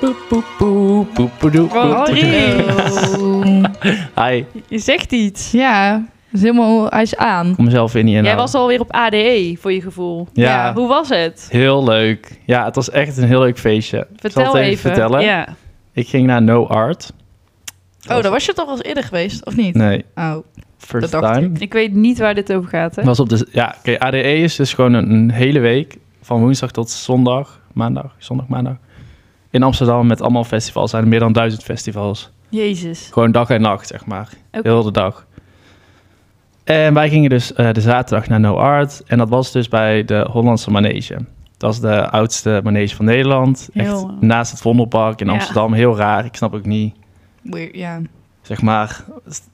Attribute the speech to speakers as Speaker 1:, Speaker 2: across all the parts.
Speaker 1: Poep, poep, poep, poep, poedoe,
Speaker 2: Oh,
Speaker 1: poep, poedoe.
Speaker 2: Rick.
Speaker 1: Hi,
Speaker 2: Je zegt iets.
Speaker 3: Ja, is helemaal, hij is aan.
Speaker 1: kom mezelf in hier.
Speaker 2: Jij
Speaker 1: nou.
Speaker 2: was alweer op ADE, voor je gevoel.
Speaker 1: Ja.
Speaker 2: Hoe was het?
Speaker 1: Heel leuk. Ja, het was echt een heel leuk feestje. Ik
Speaker 2: Vertel
Speaker 1: zal het even. vertellen.
Speaker 2: Ja.
Speaker 1: Ik ging naar No Art.
Speaker 3: Oh, daar was je toch al eens eerder geweest, of niet?
Speaker 1: Nee,
Speaker 3: Oh,
Speaker 1: first
Speaker 3: Dat dacht
Speaker 1: time.
Speaker 2: Ik weet niet waar dit over gaat, hè?
Speaker 1: Was op de, ja, oké, ADE is dus gewoon een, een hele week. Van woensdag tot zondag, maandag, zondag, maandag. In Amsterdam met allemaal festivals. Er zijn meer dan duizend festivals.
Speaker 2: Jezus.
Speaker 1: Gewoon dag en nacht, zeg maar.
Speaker 2: Oké.
Speaker 1: Heel de dag. En wij gingen dus eh, de zaterdag naar No Art. En dat was dus bij de Hollandse Manege. Dat is de oudste manege van Nederland.
Speaker 2: Heel,
Speaker 1: Echt
Speaker 2: eh,
Speaker 1: naast het Vondelpark in
Speaker 2: ja.
Speaker 1: Amsterdam. Heel raar. Ik snap ook niet,
Speaker 3: weird, ja.
Speaker 1: zeg maar.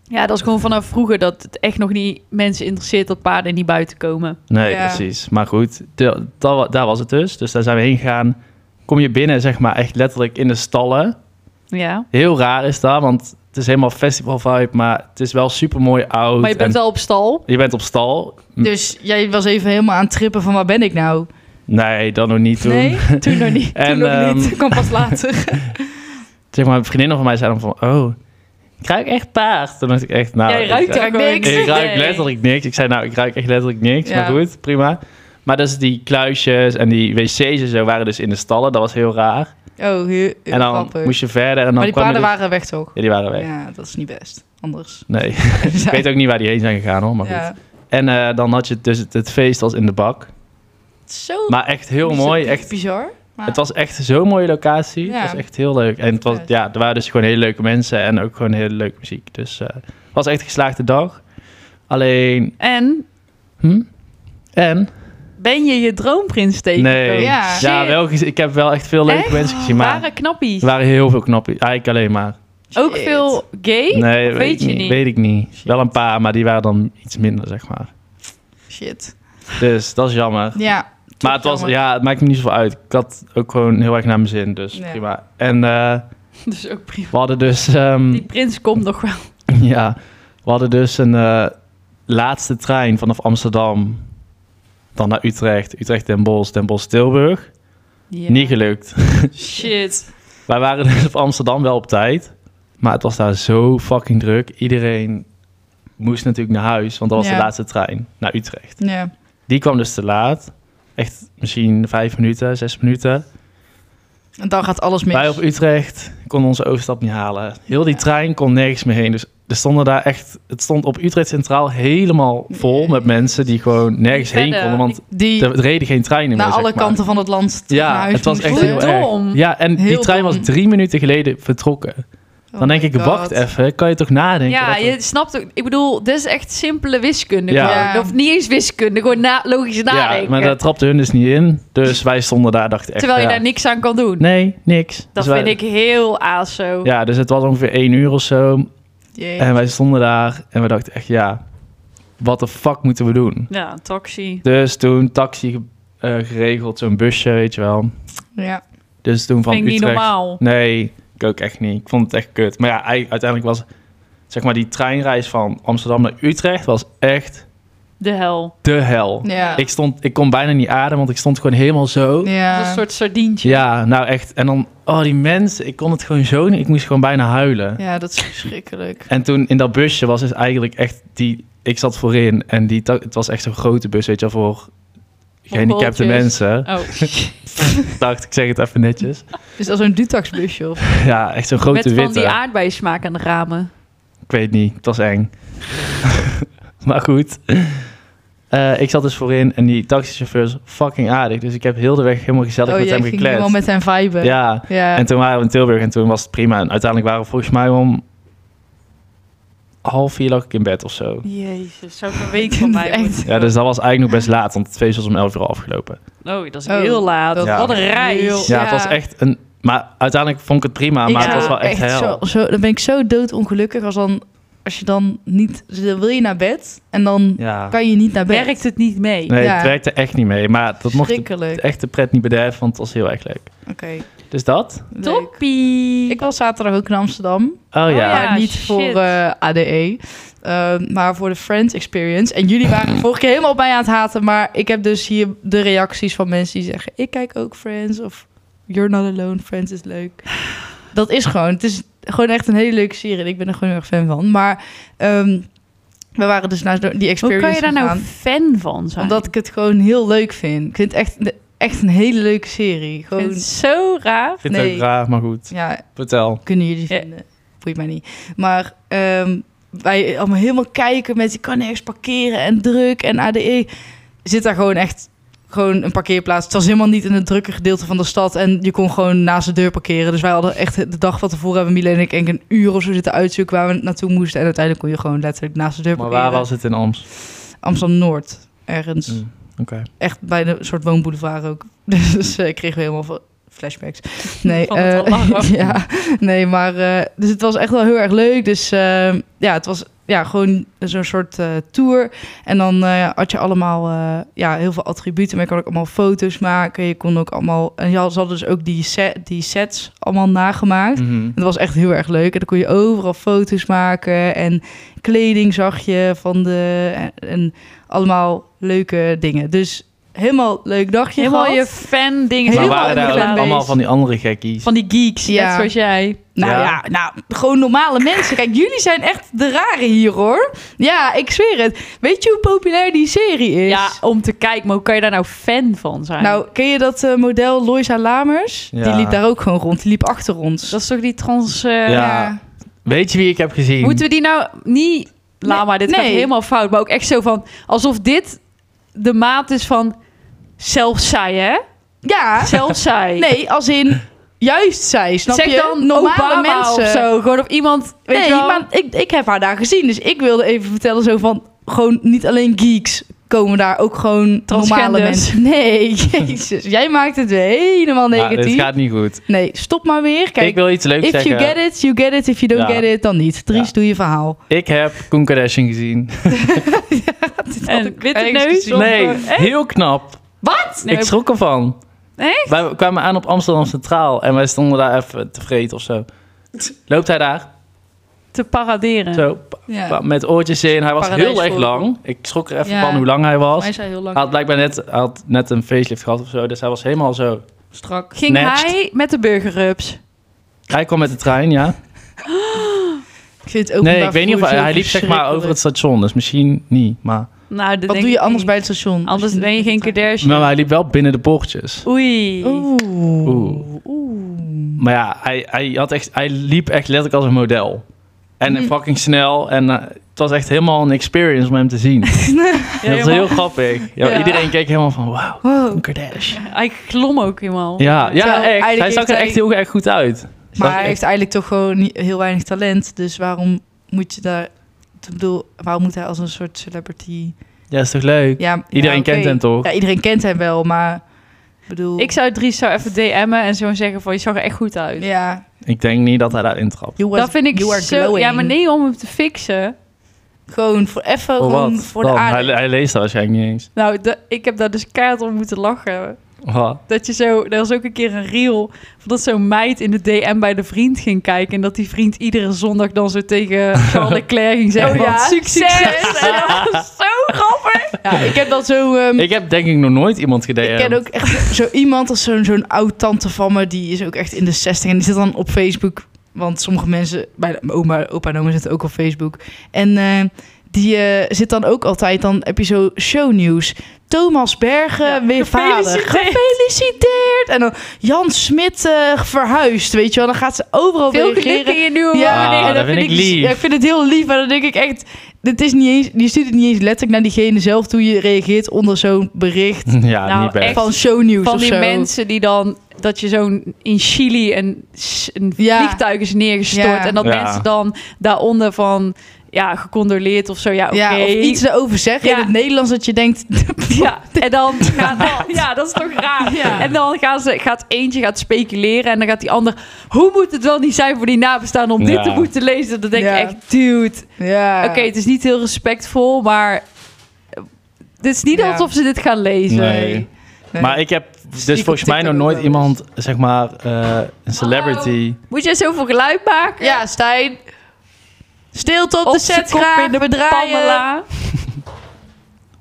Speaker 2: Ja, dat is gewoon vanaf vroeger dat het echt nog niet mensen interesseert dat paarden niet buiten komen.
Speaker 1: Nee,
Speaker 3: Ja.
Speaker 1: precies. Maar goed, de- da- daar was het dus. Dus daar zijn we heen gegaan. Kom je binnen, zeg maar, echt letterlijk in de stallen.
Speaker 2: Ja.
Speaker 1: Heel raar is dat, want het is helemaal festival vibe, maar het is wel super mooi oud.
Speaker 2: Maar je bent
Speaker 1: en
Speaker 2: wel op stal.
Speaker 1: je bent op stal. M-
Speaker 3: Dus jij was even helemaal aan het trippen van waar ben ik nou?
Speaker 1: Nee, dan nog niet toen.
Speaker 3: Nee, toen nog niet.
Speaker 1: En,
Speaker 3: toen nog
Speaker 1: ehm, Nou,
Speaker 3: niet. Kan pas later.
Speaker 1: Zeg maar, vriendinnen van mij zeiden van, oh, ik ruik echt paard. Toen dacht ik echt, nou,
Speaker 2: Jij
Speaker 1: ik-
Speaker 2: ruikt
Speaker 3: ik-
Speaker 2: er
Speaker 3: ik
Speaker 2: gewoon
Speaker 3: ruik
Speaker 1: Ik ruik
Speaker 2: Nee.
Speaker 1: letterlijk niks. Ik zei nou, ik ruik echt letterlijk niks.
Speaker 3: Ja.
Speaker 1: Maar goed, prima. Maar dus die kluisjes en die wc's en zo waren dus in de stallen. Dat was heel raar.
Speaker 3: Oh, heel, heel
Speaker 1: en dan
Speaker 3: grappig.
Speaker 1: moest je verder. En dan
Speaker 3: maar die
Speaker 1: kwam je
Speaker 3: paarden
Speaker 1: dus-
Speaker 3: waren weg toch?
Speaker 1: Ja, die waren weg.
Speaker 3: Ja, dat is niet best. Anders.
Speaker 1: Nee, ik weet ook niet waar die heen zijn gegaan hoor, maar
Speaker 3: Ja.
Speaker 1: goed. En eh, dan had je dus het, het feest als in de bak.
Speaker 3: Zo
Speaker 1: Maar echt heel
Speaker 3: Is
Speaker 1: mooi.
Speaker 3: dat
Speaker 1: Echt,
Speaker 3: bizar. Maar
Speaker 1: het was echt zo'n mooie locatie.
Speaker 3: Ja.
Speaker 1: Het was echt heel leuk. En het was,
Speaker 3: Vet.
Speaker 1: ja, er waren dus gewoon hele leuke mensen en ook gewoon hele leuke muziek. Dus eh, het was echt een geslaagde dag. Alleen,
Speaker 2: En
Speaker 1: hm? En
Speaker 2: ben je je droomprins tegengekomen?
Speaker 1: Nee.
Speaker 3: Ja.
Speaker 1: Ja,
Speaker 2: Shit.
Speaker 1: wel gezien. Ik heb wel echt veel leuke
Speaker 2: Echt?
Speaker 1: mensen gezien, maar
Speaker 2: Waren knappies.
Speaker 1: er waren heel veel knappen. Eigenlijk alleen maar.
Speaker 2: Ook
Speaker 3: Shit.
Speaker 2: veel gay?
Speaker 1: Nee,
Speaker 2: Of
Speaker 1: weet, ik
Speaker 2: je
Speaker 1: niet.
Speaker 2: niet?
Speaker 1: Weet ik niet. Wel een paar, maar die waren dan iets minder, zeg maar.
Speaker 3: Shit.
Speaker 1: Dus dat is jammer.
Speaker 3: Ja. toch
Speaker 1: maar het, was,
Speaker 3: jammer.
Speaker 1: ja, het maakt me niet zoveel uit. Ik had ook gewoon heel erg naar mijn zin, dus
Speaker 3: Ja.
Speaker 1: prima. En eh,
Speaker 2: Dus ook prima.
Speaker 1: we hadden dus, ehm,
Speaker 2: Die prins komt nog wel.
Speaker 1: ja, we hadden dus een eh, laatste trein vanaf Amsterdam dan naar Utrecht, Utrecht Den Bosch, Den Bosch Tilburg.
Speaker 2: Ja.
Speaker 1: Niet gelukt.
Speaker 2: Shit.
Speaker 1: Wij waren dus op Amsterdam wel op tijd. Maar het was daar zo fucking druk. Iedereen moest natuurlijk naar huis, want dat was
Speaker 3: Ja.
Speaker 1: de laatste trein naar Utrecht.
Speaker 3: Ja.
Speaker 1: Die kwam dus te laat. Echt misschien vijf minuten, zes minuten.
Speaker 3: En dan gaat alles mis.
Speaker 1: Wij op Utrecht konden onze overstap niet halen. Heel die
Speaker 3: Ja.
Speaker 1: trein kon nergens meer heen. Dus er stonden daar echt, het stond op Utrecht Centraal helemaal vol met mensen die gewoon nergens heen
Speaker 2: Verder.
Speaker 1: konden. Want
Speaker 3: Die
Speaker 1: er reden geen treinen meer.
Speaker 3: naar alle
Speaker 1: zeg maar.
Speaker 3: kanten van het land terug naar
Speaker 1: Ja,
Speaker 3: huis
Speaker 1: het was
Speaker 3: moesten.
Speaker 1: echt heel
Speaker 2: Dom.
Speaker 1: erg. Ja, en die
Speaker 3: Heel
Speaker 1: trein was
Speaker 3: dom.
Speaker 1: drie minuten geleden vertrokken.
Speaker 3: Oh
Speaker 1: Dan denk
Speaker 3: my
Speaker 1: ik, wacht
Speaker 3: God.
Speaker 1: even, kan je toch nadenken?
Speaker 2: Ja,
Speaker 1: dat het-
Speaker 2: je snapt ook. Ik bedoel, dit is echt simpele wiskunde.
Speaker 1: Ja.
Speaker 2: gewoon.
Speaker 3: Ja.
Speaker 2: Of niet eens wiskunde, gewoon na, logisch nadenken.
Speaker 1: ja maar daar trapte hun dus niet in. Dus wij stonden daar, dachten echt...
Speaker 2: Terwijl je
Speaker 1: ja,
Speaker 2: daar niks aan kan doen.
Speaker 1: Nee, niks.
Speaker 2: Dat
Speaker 1: Dus wij-
Speaker 2: vind ik heel aso.
Speaker 1: Ja, dus het was ongeveer één uur of zo.
Speaker 3: Jee.
Speaker 1: En wij stonden daar en we dachten echt, ja, wat de fuck moeten we doen?
Speaker 2: Ja, taxi.
Speaker 1: Dus toen taxi ge- eh, geregeld, zo'n busje, weet je wel.
Speaker 3: Ja.
Speaker 1: Dus toen van
Speaker 2: Vind ik niet
Speaker 1: Utrecht...
Speaker 2: normaal.
Speaker 1: Nee, ik ook echt niet. Ik vond het echt kut. Maar ja, ei- uiteindelijk was zeg maar die treinreis van Amsterdam naar Utrecht was echt
Speaker 2: De hel.
Speaker 1: de hel.
Speaker 3: Ja.
Speaker 1: Ik, stond, ik kon bijna niet ademen, want ik stond gewoon helemaal zo.
Speaker 2: Dat is
Speaker 3: ja.
Speaker 2: een soort sardientje.
Speaker 1: Ja, nou echt. En dan, oh die mensen, ik kon het gewoon zo niet. Ik moest gewoon bijna huilen.
Speaker 3: ja, dat is verschrikkelijk.
Speaker 1: En toen in dat busje was het eigenlijk echt die, ik zat voorin en die, ta- het was echt zo'n grote bus, weet je wel, voor gehandicapte
Speaker 2: bolletjes.
Speaker 1: mensen.
Speaker 2: Oh,
Speaker 1: Ik
Speaker 3: Oh.
Speaker 1: dacht, ik zeg het even netjes.
Speaker 3: Is dat zo'n Dutax-busje of?
Speaker 1: Ja, echt zo'n
Speaker 2: met
Speaker 1: grote
Speaker 2: van
Speaker 1: witte.
Speaker 2: die aardbeismaak aan de ramen.
Speaker 1: Ik weet niet, het was eng. maar goed. Eh, ik zat dus voorin en die taxichauffeur is fucking aardig. Dus ik heb heel de weg helemaal gezellig
Speaker 3: oh,
Speaker 1: met
Speaker 3: jij
Speaker 1: hem
Speaker 3: ging
Speaker 1: gekletst.
Speaker 3: helemaal met hem viben.
Speaker 1: Ja,
Speaker 3: Ja.
Speaker 1: En toen waren we in Tilburg en toen was het prima. En uiteindelijk waren we volgens mij om half vier lag ik in bed of zo.
Speaker 2: Jezus, zo week van mij.
Speaker 3: Echt.
Speaker 1: Ja, dus dat was eigenlijk nog best laat, want het feest was om elf uur al afgelopen.
Speaker 2: Oh, dat is
Speaker 3: Oh,
Speaker 2: heel laat.
Speaker 3: dat-
Speaker 1: Ja.
Speaker 2: Wat een reis.
Speaker 3: Heel-
Speaker 1: Ja, het was echt een... Maar uiteindelijk vond ik het prima, maar
Speaker 3: Ik
Speaker 1: het was
Speaker 3: zou
Speaker 1: wel echt, hel.
Speaker 3: Zo, zo, dan ben ik zo doodongelukkig als dan... Als je dan niet... Dan wil je naar bed en dan
Speaker 1: Ja.
Speaker 3: kan je niet naar bed.
Speaker 2: Werkt het niet mee?
Speaker 1: Nee,
Speaker 3: Ja.
Speaker 1: het werkte echt niet mee. Maar dat mocht de,
Speaker 3: Verschrikkelijk.
Speaker 1: echt de pret niet bederven, want het was heel erg leuk.
Speaker 3: Oké,
Speaker 1: Dus dat?
Speaker 3: leuk.
Speaker 2: Toppie.
Speaker 3: Ik was zaterdag ook in Amsterdam.
Speaker 1: Oh
Speaker 2: ja.
Speaker 1: ja.
Speaker 3: maar niet
Speaker 2: shit.
Speaker 3: voor eh,
Speaker 4: E,
Speaker 3: ADE, eh, maar voor de Friends Experience. En jullie waren vorige keer helemaal op mij aan het haten, maar ik heb dus hier de reacties van mensen die zeggen: ik kijk ook Friends of
Speaker 4: You're Not Alone, Friends is leuk. Dat is gewoon, het is gewoon echt een hele leuke serie. en Ik ben er gewoon heel erg fan van. Maar ehm, we waren dus naar die
Speaker 2: Hoe
Speaker 4: experience
Speaker 2: kan je daar nou
Speaker 4: gegaan,
Speaker 2: fan van zijn?
Speaker 4: Omdat ik het gewoon heel leuk vind. Ik vind het echt, echt een hele leuke serie.
Speaker 2: ik vind
Speaker 4: Gewoon,
Speaker 2: het zo raar.
Speaker 1: Ik vind het
Speaker 4: Nee.
Speaker 1: ook raar, maar goed.
Speaker 4: ja,
Speaker 1: Vertel.
Speaker 4: kunnen jullie
Speaker 2: Ja.
Speaker 4: vinden. Boeit mij niet. Maar ehm, wij allemaal helemaal kijken met je kan nergens parkeren en druk en ADE. Zit daar gewoon echt gewoon een parkeerplaats. Het was helemaal niet in het drukke gedeelte van de stad en je kon gewoon naast de deur parkeren. Dus wij hadden echt de dag van tevoren hebben Mila en ik denk ik een uur of zo zitten uitzoeken waar we naartoe moesten. En uiteindelijk kon je gewoon letterlijk naast de deur
Speaker 1: Maar
Speaker 4: parkeren.
Speaker 1: waar was Mm. het in Amsterdam?
Speaker 4: Amsterdam Noord ergens
Speaker 1: Oké.
Speaker 4: echt bij de soort woonboulevard ook. Dus eh, ik kreeg weer helemaal veel flashbacks. Nee,
Speaker 2: Van het
Speaker 4: eh,
Speaker 2: alarm.
Speaker 4: ja, nee, maar eh, dus het was echt wel heel erg leuk. Dus eh, ja, het was ja, gewoon zo'n soort eh, tour. En dan eh, had je allemaal eh, ja, heel veel attributen. Maar je kon ook allemaal foto's maken. Je kon ook allemaal. En je had, ze hadden dus ook die, set, die sets allemaal nagemaakt.
Speaker 1: Mhm.
Speaker 4: Het was echt heel erg leuk. En dan kon je overal foto's maken. En kleding zag je van de... En, en allemaal leuke dingen. Dus helemaal leuk dagje
Speaker 2: Helemaal
Speaker 4: gehad.
Speaker 2: je fan dingen.
Speaker 1: Maar
Speaker 4: Helemaal
Speaker 1: waren
Speaker 4: in
Speaker 1: daar
Speaker 4: de
Speaker 1: ook
Speaker 4: fanbase.
Speaker 1: allemaal van die andere gekkies?
Speaker 2: Van die geeks,
Speaker 4: Ja.
Speaker 2: net zoals jij.
Speaker 4: Nou
Speaker 1: Ja.
Speaker 4: ja. nou, gewoon normale mensen. Kijk, jullie zijn echt de rare hier, hoor. Ja, ik zweer het. Weet je hoe populair die serie is?
Speaker 2: Ja, om te kijken, maar hoe kan je daar nou fan van zijn?
Speaker 4: Nou, ken je dat eh, model Loisa Lamers?
Speaker 1: Ja.
Speaker 4: Die liep daar ook gewoon rond. Die liep achter ons.
Speaker 2: dat is toch die trans... eh,
Speaker 1: Ja. Weet je wie ik heb gezien?
Speaker 2: Moeten we die nou niet... Laat
Speaker 4: Nee,
Speaker 2: maar, dit gaat
Speaker 4: nee.
Speaker 2: helemaal fout. Maar ook echt zo van... Alsof dit de maat is van... Zelfs zij, hè?
Speaker 4: Ja.
Speaker 2: Zelfs zij.
Speaker 4: Nee, als in... Juist zij, snap
Speaker 2: zeg
Speaker 4: je?
Speaker 2: dan Obama of zo. Gewoon of iemand... Weet
Speaker 4: nee,
Speaker 2: je wel?
Speaker 4: maar ik, ik heb haar daar gezien. Dus ik wilde even vertellen zo van... Gewoon niet alleen geeks komen daar ook gewoon normale
Speaker 2: Transgenders.
Speaker 4: mensen. Nee, jezus. Jij maakt het weer helemaal
Speaker 1: Ja, Nou, dit
Speaker 4: negatief.
Speaker 1: gaat niet goed.
Speaker 4: Nee, stop maar weer.
Speaker 1: ik
Speaker 4: Kijk,
Speaker 1: wil iets leuks
Speaker 4: if
Speaker 1: zeggen.
Speaker 4: you get it, you get it. If you don't
Speaker 1: Ja.
Speaker 4: get it, dan niet. Dries,
Speaker 1: Ja.
Speaker 4: doe je verhaal.
Speaker 1: Ik heb Koen Kardashian gezien.
Speaker 4: had
Speaker 2: En
Speaker 4: ik
Speaker 2: witte
Speaker 4: ergens
Speaker 2: neus.
Speaker 4: gezien.
Speaker 1: Nee,
Speaker 2: Echt?
Speaker 1: heel knap.
Speaker 2: Wat?
Speaker 1: Ik schrok ervan.
Speaker 2: Echt?
Speaker 1: Wij kwamen aan op Amsterdam Centraal en wij stonden daar even te vreten of zo. Loopt hij daar,
Speaker 2: te paraderen.
Speaker 1: zo, pa- pa- met oortjes in. Hij was
Speaker 4: Paradijs
Speaker 1: heel erg
Speaker 4: voor-
Speaker 1: lang. Ik schrok er even
Speaker 4: Ja.
Speaker 1: van hoe lang hij was.
Speaker 4: Hij zei heel lang
Speaker 1: Hij had blijkbaar net, hij had net een facelift gehad of zo, dus hij was helemaal zo.
Speaker 4: strak.
Speaker 2: Ging
Speaker 1: Next.
Speaker 2: hij met de burgerrups?
Speaker 1: Hij kwam met de trein, ja.
Speaker 4: Ik vind het ook
Speaker 1: Nee, ik weet niet of hij, hij liep zeg maar over het station, dus misschien niet. Maar,
Speaker 2: Nou, dat
Speaker 4: Wat
Speaker 2: denk
Speaker 4: doe je
Speaker 2: ik
Speaker 4: anders
Speaker 2: niet.
Speaker 4: bij het station?
Speaker 2: Anders ben je geen Kardashian.
Speaker 1: maar hij liep wel binnen de poortjes.
Speaker 4: Nou.
Speaker 2: Oei.
Speaker 4: Oeh.
Speaker 1: Oeh.
Speaker 4: Oeh.
Speaker 1: Maar ja, hij, hij, had echt, hij liep echt letterlijk als een model. En
Speaker 4: Hm.
Speaker 1: fucking snel. En eh, het was echt helemaal een experience om hem te zien. dat was heel grappig. Ja,
Speaker 2: Ja.
Speaker 1: Iedereen keek helemaal van, wauw,
Speaker 4: Wow.
Speaker 1: een Kardashian.
Speaker 2: Hij glom ook helemaal.
Speaker 1: Ja, ja
Speaker 4: Terwijl
Speaker 1: echt. Hij
Speaker 4: eigenlijk
Speaker 1: zag er
Speaker 4: heeft hij-
Speaker 1: echt heel erg goed uit.
Speaker 4: Maar
Speaker 1: Dat-
Speaker 4: hij heeft eigenlijk toch gewoon niet- heel weinig talent. Dus waarom moet je daar... Ik bedoel, waarom moet hij als een soort celebrity...
Speaker 1: Ja, is toch leuk?
Speaker 4: Ja,
Speaker 1: Iedereen
Speaker 4: ja, oké.
Speaker 1: kent hem toch?
Speaker 4: Ja, iedereen kent hem wel, maar... ik bedoel...
Speaker 2: Ik zou Dries zou even DM'en en zo zeggen van, je zag er echt goed uit.
Speaker 4: Ja.
Speaker 1: Ik denk niet dat hij daarin trapt.
Speaker 4: You was-
Speaker 2: dat vind ik
Speaker 4: you are
Speaker 2: zo...
Speaker 4: glowing.
Speaker 2: Ja, maar nee, om hem te fixen.
Speaker 4: Gewoon voor
Speaker 1: Voor
Speaker 4: even, gewoon
Speaker 1: Oh, wat?
Speaker 4: voor
Speaker 1: Dan?
Speaker 4: de
Speaker 1: Hij,
Speaker 4: aarde.
Speaker 1: hij leest dat waarschijnlijk niet eens.
Speaker 2: Nou, da- ik heb daar dus keihard om moeten lachen.
Speaker 1: Wat?
Speaker 2: Dat je zo... Er was ook een keer een reel van dat zo'n meid in de DM bij de vriend ging kijken. En dat die vriend iedere zondag dan zo tegen Charles Leclerc ging zeggen
Speaker 4: Oh ja,
Speaker 2: van, Succes!
Speaker 4: succes.
Speaker 2: En dat was zo grappig!
Speaker 4: Ja, ik heb dat zo... ehm,
Speaker 1: Ik heb denk ik nog nooit iemand gedm'd.
Speaker 4: ik ken ook echt zo iemand als zo'n zo'n oud-tante van me. Die is ook echt in de 60 en die zit dan op Facebook. Want sommige mensen, bij de- mijn oma, opa en oma zitten ook op Facebook. En eh, die eh, zit dan ook altijd, dan heb je zo shownieuws. Thomas Bergen,
Speaker 2: Ja,
Speaker 4: weer vader.
Speaker 2: gefeliciteerd.
Speaker 4: Gefeliciteerd! En dan Jan Smit eh, verhuisd, weet je wel. Dan gaat ze overal
Speaker 2: Veel geluk
Speaker 4: reageren.
Speaker 2: in je nieuwe
Speaker 1: Ah,
Speaker 2: woning.
Speaker 1: dat vind ik lief.
Speaker 4: Ja, ik vind het heel lief, maar dan denk ik echt... Dit is niet eens, je stuurt het niet eens letterlijk naar diegene zelf... toe je reageert onder zo'n bericht
Speaker 1: Ja,
Speaker 2: Nou,
Speaker 1: niet best.
Speaker 2: echt.
Speaker 4: van shownieuws
Speaker 2: van
Speaker 4: of
Speaker 2: die
Speaker 4: zo.
Speaker 2: mensen die dan dat je zo'n in Chili een, s- een
Speaker 4: Ja.
Speaker 2: vliegtuig is neergestort
Speaker 4: Ja.
Speaker 2: en dat
Speaker 1: Ja.
Speaker 2: mensen dan daaronder van ja gecondoleerd of zo ja oké
Speaker 4: Ja, of iets erover zeggen
Speaker 2: Ja.
Speaker 4: in het Nederlands dat je denkt...
Speaker 2: Ja, en dan gaat dan, ja, dat is toch raar.
Speaker 4: Ja.
Speaker 2: En dan gaan ze, gaat eentje gaat speculeren en dan gaat die ander, hoe moet het wel niet zijn voor die nabestaanden om
Speaker 1: Ja.
Speaker 2: dit te moeten lezen? Dan denk
Speaker 4: Ja.
Speaker 2: ik echt, dude,
Speaker 4: Ja.
Speaker 2: oké, het is niet heel respectvol, maar eh, het is niet
Speaker 4: Ja.
Speaker 2: alsof ze dit gaan lezen.
Speaker 1: Nee.
Speaker 4: Nee.
Speaker 1: Maar ik heb dus
Speaker 4: op
Speaker 1: volgens mij nog
Speaker 4: TikTok
Speaker 1: nooit
Speaker 4: ook wel eens.
Speaker 1: iemand, zeg maar, eh, een celebrity.
Speaker 2: Moet jij zoveel geluid maken?
Speaker 4: Ja, Stijn. Stil tot
Speaker 2: Op
Speaker 4: de
Speaker 2: z'n
Speaker 4: set
Speaker 2: kop
Speaker 4: graag,
Speaker 2: in de
Speaker 4: we draaien.
Speaker 2: Pamela.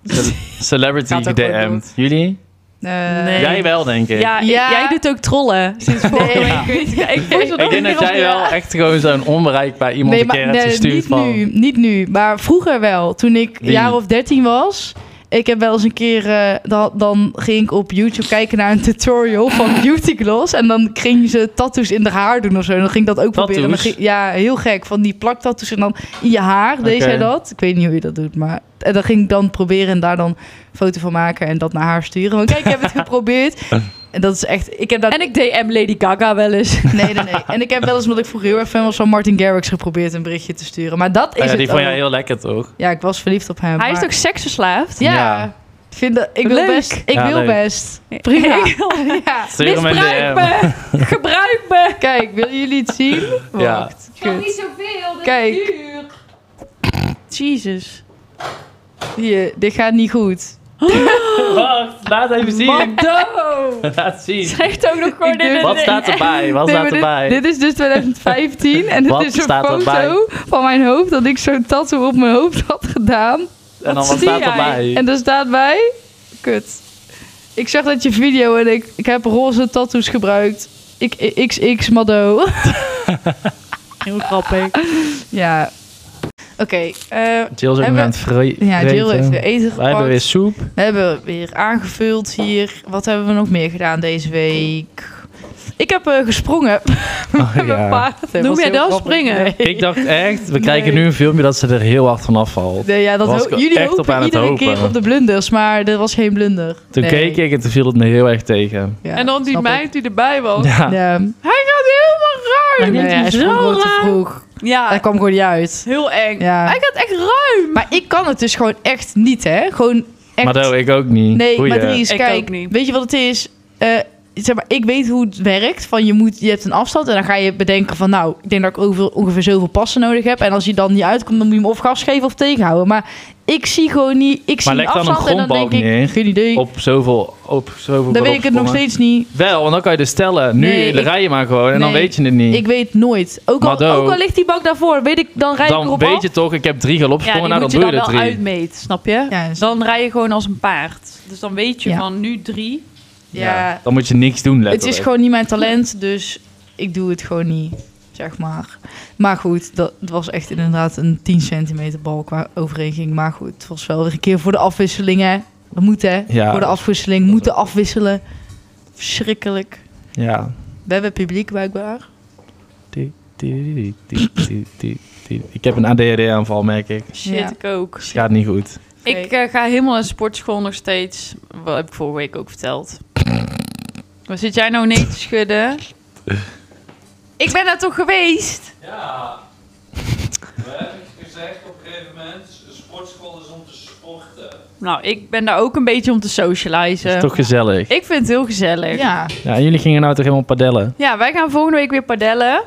Speaker 1: ce- Celebrity
Speaker 4: Gaat ook wel
Speaker 1: gedm'd. Jullie?
Speaker 4: Eh,
Speaker 2: Nee.
Speaker 1: Jij wel, denk ik.
Speaker 2: Ja,
Speaker 4: Ja.
Speaker 2: jij doet ook trollen sinds vorige
Speaker 4: Nee,
Speaker 2: week. Ja, ik vond het
Speaker 1: Ik denk dat jij wel echt gewoon zo'n onbereikbaar iemand
Speaker 4: nee,
Speaker 1: een keer
Speaker 4: maar,
Speaker 1: hebt
Speaker 4: nee,
Speaker 1: gestuurd
Speaker 4: niet
Speaker 1: van... Oh
Speaker 4: nu, niet nu. Maar vroeger wel, toen ik
Speaker 1: Wie?
Speaker 4: een jaar of dertien was. Ik heb wel eens een keer, eh, dan, dan ging ik op YouTube kijken naar een tutorial van Beauty Gloss. En dan ging ze tattoos in haar haar doen of zo. En dan ging ik dat ook proberen. En dan
Speaker 1: Tattoos?
Speaker 4: ging- ja, heel gek. Van die plaktattoos en dan in je haar deed
Speaker 1: Oké.
Speaker 4: zij dat. Ik weet niet hoe je dat doet, maar... En dan ging ik dan proberen en daar dan een foto van maken en dat naar haar sturen. Want kijk, ik heb het geprobeerd. En dat is echt... Ik heb dat
Speaker 2: En ik DM Lady Gaga wel eens.
Speaker 4: Nee, nee, nee. En ik heb wel eens, omdat ik vroeger heel erg fan was van Martin Garrix, geprobeerd een berichtje te sturen. Maar dat is
Speaker 1: Ah ja, die
Speaker 4: het
Speaker 1: vond
Speaker 4: ook.
Speaker 1: jij heel lekker, toch?
Speaker 4: Ja, ik was verliefd op hem.
Speaker 2: Hij is
Speaker 4: maar-
Speaker 2: ook seksverslaafd.
Speaker 4: Ja.
Speaker 1: Ja.
Speaker 4: Ik Vind dat, ik wil
Speaker 2: Leuk.
Speaker 4: best. Ik
Speaker 1: Ja,
Speaker 4: wil
Speaker 1: leuk.
Speaker 4: best. Prima.
Speaker 2: Ik wil-
Speaker 4: Ja.
Speaker 1: Stuur hem een
Speaker 2: Misbruik
Speaker 1: DM.
Speaker 2: me! Gebruik me!
Speaker 4: Kijk, willen jullie het zien?
Speaker 1: Ja.
Speaker 4: Wacht.
Speaker 5: kan
Speaker 4: kut.
Speaker 5: niet zoveel, dat
Speaker 4: Kijk.
Speaker 5: is duur.
Speaker 2: Jesus.
Speaker 4: Hier, dit gaat niet goed.
Speaker 1: Wacht, laat even zien.
Speaker 2: Mado!
Speaker 1: Laat zien.
Speaker 2: Zegt ook nog gewoon
Speaker 4: Ik durf-
Speaker 2: in
Speaker 1: Wat
Speaker 2: een...
Speaker 1: staat erbij? Wat
Speaker 4: Nee,
Speaker 1: staat
Speaker 4: maar
Speaker 1: erbij?
Speaker 4: dit, dit is dus 2015 en
Speaker 1: Wat
Speaker 4: dit is een
Speaker 1: staat
Speaker 4: foto
Speaker 1: erbij?
Speaker 4: van mijn hoofd dat ik zo'n tattoo op mijn hoofd had gedaan.
Speaker 1: en dan wat
Speaker 2: zie
Speaker 1: staat
Speaker 2: jij?
Speaker 1: erbij?
Speaker 4: En daar staat bij... Kut. Ik zag dat je video en ik, ik heb roze tattoos gebruikt. Ik, ik- XX Maddo.
Speaker 2: Heel grappig.
Speaker 4: ja. Oké. eh
Speaker 1: Jill is ook nog
Speaker 4: Hebben-
Speaker 1: aan het vre-
Speaker 4: ja, Jill heeft
Speaker 1: vreten.
Speaker 4: weer eten
Speaker 1: Wij hebben weer
Speaker 4: gepakt.
Speaker 1: soep.
Speaker 4: We hebben weer aangevuld hier. Wat hebben we nog meer gedaan deze week? Ik heb eh, gesprongen
Speaker 1: Oh,
Speaker 4: met mijn
Speaker 1: ja.
Speaker 4: paard. Dat
Speaker 2: Noem
Speaker 4: was
Speaker 2: jij
Speaker 4: heel
Speaker 2: dat
Speaker 4: grappig.
Speaker 2: springen?
Speaker 4: Nee.
Speaker 1: Ik dacht echt, we krijgen
Speaker 4: Nee.
Speaker 1: nu een filmpje dat ze er heel hard van afvalt.
Speaker 4: Nee, ja, dat
Speaker 1: Was
Speaker 4: ho-
Speaker 1: ik
Speaker 4: jullie
Speaker 1: echt op aan
Speaker 4: hopen
Speaker 1: het
Speaker 4: iedere
Speaker 1: hopen.
Speaker 4: keer op de blunders, maar er was geen blunder.
Speaker 1: Toen
Speaker 4: Nee.
Speaker 1: keek ik en toen viel het me heel erg tegen.
Speaker 4: Ja,
Speaker 2: en dan die
Speaker 4: snap ik.
Speaker 2: meid die erbij was.
Speaker 1: Ja.
Speaker 4: Ja.
Speaker 2: Hij gaat helemaal ruim.
Speaker 4: Nee, hij sprong gewoon te vroeg. Hij
Speaker 2: Ja,
Speaker 4: kwam gewoon niet uit.
Speaker 2: heel eng.
Speaker 4: Ja.
Speaker 2: Hij gaat echt ruim.
Speaker 4: Maar ik kan het dus gewoon echt niet, hè? Gewoon echt.
Speaker 1: Maar dat ik ook niet.
Speaker 4: nee,
Speaker 1: Goeie.
Speaker 4: maar Dries,
Speaker 2: Ik
Speaker 4: kijk.
Speaker 2: ook niet.
Speaker 4: Weet je wat het is? Eh, zeg maar, ik weet hoe het werkt. Van je, moet, je hebt een afstand en dan ga je bedenken van... nou, ik denk dat ik over, ongeveer zoveel passen nodig heb. En als je dan niet uitkomt, dan moet je hem of gas geven of tegenhouden. Maar ik zie gewoon niet... Ik zie
Speaker 1: leg dan een
Speaker 4: afstand en dan denk
Speaker 1: grondbalk
Speaker 4: ik...
Speaker 1: neer.
Speaker 4: Geen idee.
Speaker 1: Op zoveel, op zoveel
Speaker 4: dan weet ik het nog steeds niet.
Speaker 1: Wel, want dan kan je dus stellen. Nu
Speaker 4: Nee, ik-
Speaker 1: rij je maar gewoon en dan
Speaker 4: nee,
Speaker 1: weet je het niet.
Speaker 4: Ik weet nooit. Ook
Speaker 1: Maar
Speaker 4: al,
Speaker 1: dan-
Speaker 4: ook al ligt die bank daarvoor, weet ik, dan rijd ik
Speaker 1: dan
Speaker 4: erop
Speaker 1: weet
Speaker 4: af.
Speaker 1: je toch, ik heb drie
Speaker 2: Ja,
Speaker 1: galopsprongen,
Speaker 2: die
Speaker 1: nou dan
Speaker 2: moet je
Speaker 1: doe
Speaker 2: dan
Speaker 1: je er
Speaker 2: wel
Speaker 1: drie.
Speaker 2: uitmeet, snap je?
Speaker 4: Ja, is-
Speaker 2: Dan rij je gewoon als een paard. Dus dan weet je
Speaker 4: Ja.
Speaker 2: van nu drie.
Speaker 4: ja,
Speaker 1: Dan moet je niks doen, letterlijk.
Speaker 4: Het is gewoon niet mijn talent, dus ik doe het gewoon niet, zeg maar. Maar goed, dat het was echt inderdaad een 10 centimeter bal qua overeenking. Maar goed, het was wel weer een keer voor de afwisselingen. We moeten, hè,
Speaker 1: Ja.
Speaker 4: voor de afwisseling, moeten afwisselen. Verschrikkelijk.
Speaker 1: Ja.
Speaker 4: We hebben publiek blijkbaar.
Speaker 1: Die, die, die, die, die, die, die. Ik heb een ADHD-aanval, merk ik.
Speaker 2: Shit,
Speaker 4: Ja.
Speaker 2: ik ook.
Speaker 1: Het gaat niet goed.
Speaker 2: Ik eh, ga helemaal naar de sportschool nog steeds. Wat heb ik vorige week ook verteld. Waar zit jij nou nee te schudden? Ik ben daar toch geweest?
Speaker 6: Ja, we hebben het gezegd op een gegeven moment, een sportschool is om te sporten.
Speaker 2: Nou, ik ben daar ook een beetje om te
Speaker 1: Het is
Speaker 2: socializen.
Speaker 1: toch gezellig.
Speaker 2: Ik vind het heel gezellig. Ja.
Speaker 4: Ja,
Speaker 1: Ja, en jullie gingen nou toch helemaal padellen?
Speaker 2: wij gaan volgende week weer padellen.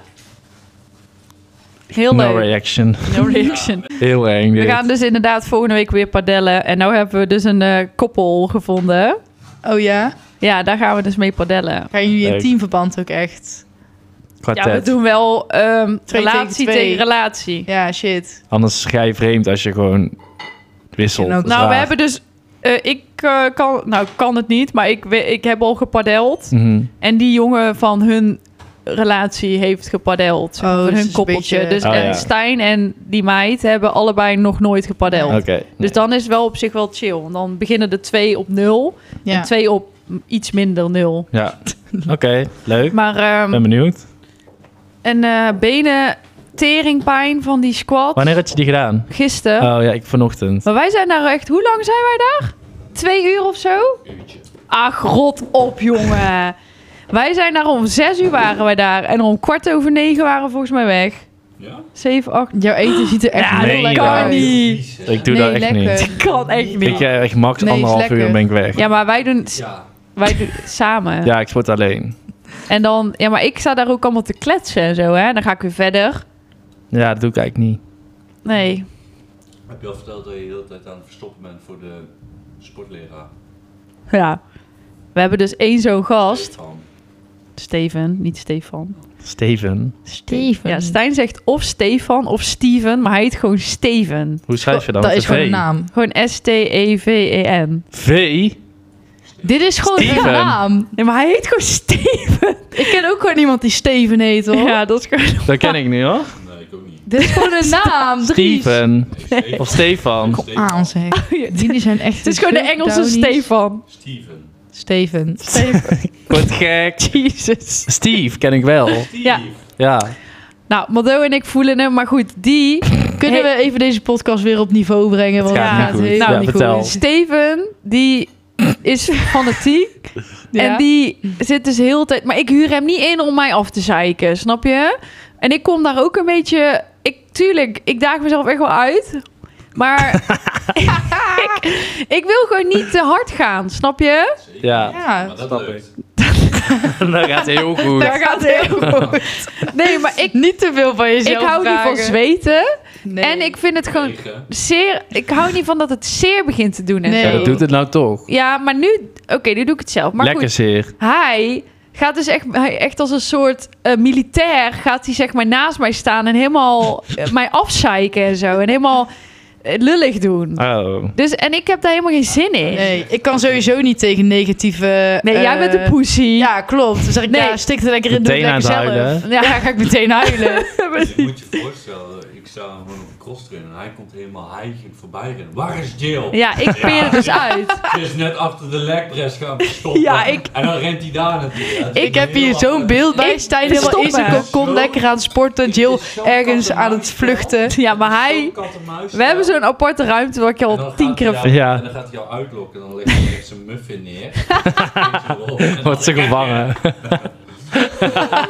Speaker 2: Heel
Speaker 1: no
Speaker 2: leuk.
Speaker 1: reaction.
Speaker 2: No reaction.
Speaker 1: Heel eng
Speaker 2: We
Speaker 1: dit.
Speaker 2: gaan dus inderdaad volgende week weer padellen. En nu hebben we dus een eh, koppel gevonden.
Speaker 4: oh ja.
Speaker 2: Ja, daar gaan we dus mee padellen.
Speaker 4: Gaan jullie in
Speaker 1: Leuk.
Speaker 4: teamverband ook echt?
Speaker 1: Kwartet.
Speaker 2: Ja, we doen wel ehm,
Speaker 4: tegen
Speaker 2: relatie
Speaker 4: twee.
Speaker 2: tegen relatie.
Speaker 4: Ja, shit.
Speaker 1: Anders ga je vreemd als je gewoon wisselt.
Speaker 4: En ook-
Speaker 1: Dat is
Speaker 2: Nou, we
Speaker 1: raar.
Speaker 2: hebben dus. eh, ik eh, kan, nou, kan het niet, maar ik, we- ik heb al gepadeld.
Speaker 1: Mhm.
Speaker 2: En die jongen van hun relatie heeft gepadeld.
Speaker 4: Oh,
Speaker 2: van
Speaker 4: dus
Speaker 2: hun
Speaker 4: een
Speaker 2: koppeltje.
Speaker 4: beetje-
Speaker 2: Dus
Speaker 1: Oh,
Speaker 2: en
Speaker 1: ja.
Speaker 2: Stijn en die meid hebben allebei nog nooit gepadeld.
Speaker 1: Oké.
Speaker 2: Dus dan is het wel op zich wel chill. Want dan beginnen de twee op nul. En
Speaker 4: Ja.
Speaker 2: twee op iets minder nul.
Speaker 1: Ja. Oké, leuk.
Speaker 2: Maar ehm,
Speaker 1: Ben benieuwd.
Speaker 2: een eh benen teringpijn van die squat
Speaker 1: Wanneer had je die gedaan?
Speaker 2: gisteren.
Speaker 1: Oh ja, ik vanochtend.
Speaker 2: Maar wij zijn daar echt... Hoe lang zijn wij daar? Twee uur of zo?
Speaker 6: Uurtje.
Speaker 2: Ah, rot op, jongen. wij zijn daar om zes uur waren wij daar. En om kwart over negen waren we volgens mij weg.
Speaker 6: Ja?
Speaker 2: Zeven, acht...
Speaker 4: Jouw eten ziet er echt
Speaker 1: Ja,
Speaker 4: heel
Speaker 1: nee,
Speaker 4: lekker
Speaker 1: ja.
Speaker 2: Kan
Speaker 4: uit.
Speaker 2: niet.
Speaker 1: Ik doe
Speaker 4: Nee,
Speaker 1: dat echt
Speaker 4: lekker.
Speaker 1: niet.
Speaker 2: Kan echt
Speaker 1: Ik
Speaker 2: niet.
Speaker 1: eh, echt max
Speaker 4: Nee, is
Speaker 1: anderhalf uur
Speaker 4: lekker.
Speaker 1: en ben ik weg. Ja.
Speaker 2: Ja, maar wij doen,
Speaker 6: Ja.
Speaker 2: wij doen samen.
Speaker 1: ik sport alleen.
Speaker 2: En dan... Ja, maar ik sta daar ook allemaal te kletsen en zo, hè. Dan ga ik weer verder.
Speaker 1: Ja, dat doe ik eigenlijk niet.
Speaker 2: Nee.
Speaker 6: Heb je al verteld dat je de hele tijd aan het verstoppen bent voor de sportleraar?
Speaker 2: Ja. We hebben dus één zo'n gast.
Speaker 6: Van,
Speaker 2: Steven, niet Stefan.
Speaker 1: Steven.
Speaker 4: Steven.
Speaker 2: Ja, Stijn zegt of Stefan of Steven, maar hij heet gewoon Steven.
Speaker 1: Hoe schrijf je dat?
Speaker 4: Dat
Speaker 1: Met
Speaker 4: is
Speaker 1: een
Speaker 2: E
Speaker 4: gewoon een
Speaker 1: V?
Speaker 4: naam.
Speaker 2: Gewoon S-T-E-V-E-N.
Speaker 1: V?
Speaker 4: Dit is gewoon
Speaker 1: Steven.
Speaker 4: een naam.
Speaker 2: Nee, maar hij heet gewoon Steven.
Speaker 4: Ik ken ook gewoon iemand die Steven heet, hoor.
Speaker 2: Ja, dat is gewoon...
Speaker 1: Dat ken ik niet hoor.
Speaker 6: Nee, ik ook niet.
Speaker 4: Dit is gewoon een naam. Dries.
Speaker 1: Steven.
Speaker 6: Nee,
Speaker 1: Of Stefan.
Speaker 6: Steven.
Speaker 4: Aan zeg. Ah, Die zijn echt...
Speaker 2: Oh, Het is gewoon de Engelse Stefan.
Speaker 6: Steven.
Speaker 4: Steven.
Speaker 2: Steven.
Speaker 1: Wat gek.
Speaker 2: Jesus.
Speaker 1: Steve ken ik wel.
Speaker 6: Steve.
Speaker 2: Ja.
Speaker 1: Ja.
Speaker 2: Nou, Mado en ik voelen hem, maar goed, die...
Speaker 4: Kunnen we even deze podcast weer op niveau brengen? Want
Speaker 1: Het gaat
Speaker 2: niet
Speaker 4: het gaat
Speaker 2: goed.
Speaker 4: helemaal
Speaker 2: Ja,
Speaker 4: niet
Speaker 1: vertel.
Speaker 4: goed.
Speaker 2: Steven, die is fanatiek.
Speaker 4: Ja.
Speaker 2: En die zit dus heel de tijd... Maar ik huur hem niet in om mij af te zeiken, snap je? En ik kom daar ook een beetje... Ik, tuurlijk, ik daag mezelf echt wel uit. Maar ik, ik wil gewoon niet te hard gaan, snap je?
Speaker 6: Zeker.
Speaker 1: Ja.
Speaker 4: Ja,
Speaker 6: Maar dat
Speaker 1: Snap
Speaker 6: lukt.
Speaker 1: Dat gaat heel goed.
Speaker 4: daar gaat heel goed.
Speaker 2: Nee, maar ik,
Speaker 4: Niet te veel van
Speaker 2: ik
Speaker 4: jezelf
Speaker 2: hou niet van zweten.
Speaker 4: Nee.
Speaker 2: En ik vind het gewoon
Speaker 6: Tegen.
Speaker 2: zeer... Ik hou niet van dat het zeer begint te doen en
Speaker 4: Nee.
Speaker 1: Ja,
Speaker 2: zo.
Speaker 1: dat doet het nou toch.
Speaker 2: Ja, maar nu... Oké, nu doe ik het zelf. Maar
Speaker 1: Lekker
Speaker 2: goed,
Speaker 1: zeer.
Speaker 2: hij gaat dus echt, hij echt als een soort eh, militair... gaat hij zeg maar naast mij staan en helemaal eh, mij afzeiken en zo. En helemaal eh, lullig doen.
Speaker 6: Ah.
Speaker 1: Oh.
Speaker 2: Dus, en ik heb daar helemaal geen zin in. Nee,
Speaker 4: Nee, ik kan sowieso niet tegen negatieve...
Speaker 2: jij
Speaker 4: eh,
Speaker 2: bent een pussy.
Speaker 4: Ja, klopt. Dan zeg ik,
Speaker 2: Nee.
Speaker 4: ja, stik er lekker in, doe het
Speaker 1: Meteen
Speaker 4: lekker
Speaker 1: aan het
Speaker 4: zelf.
Speaker 1: huilen,
Speaker 4: Ja, dan ga ik meteen huilen.
Speaker 6: Dus je moet je voorstellen, ik sta hem gewoon op een cross train en hij komt helemaal hijgend voorbij rennen. Waar is Jill?
Speaker 2: Ja, ik peer er dus uit.
Speaker 6: Ze is net achter de legpress gaan verstoppen.
Speaker 2: Ja, ik-
Speaker 6: En dan rent hij daar naartoe. Ja, het is
Speaker 4: ik heb
Speaker 6: heel
Speaker 4: hier zo'n
Speaker 6: apart.
Speaker 4: beeld bij.
Speaker 2: Ik
Speaker 4: Stijn helemaal
Speaker 2: verstop
Speaker 4: in zijn
Speaker 2: me.
Speaker 4: kokon, lekker aan het sporten. Jill ergens aan het vluchten.
Speaker 2: Ja, maar hij...
Speaker 6: Zo'n kat en muis
Speaker 2: We hebben
Speaker 6: spel.
Speaker 2: zo'n aparte ruimte waar ik je
Speaker 6: En
Speaker 2: al
Speaker 6: dan
Speaker 2: tien
Speaker 6: gaat
Speaker 2: keer...
Speaker 6: hij
Speaker 1: heb-
Speaker 6: jou-
Speaker 1: Ja.
Speaker 6: En dan gaat hij jou uitlokken en dan legt hij echt zijn muffin neer. En dan
Speaker 1: Wordt ze gevangen.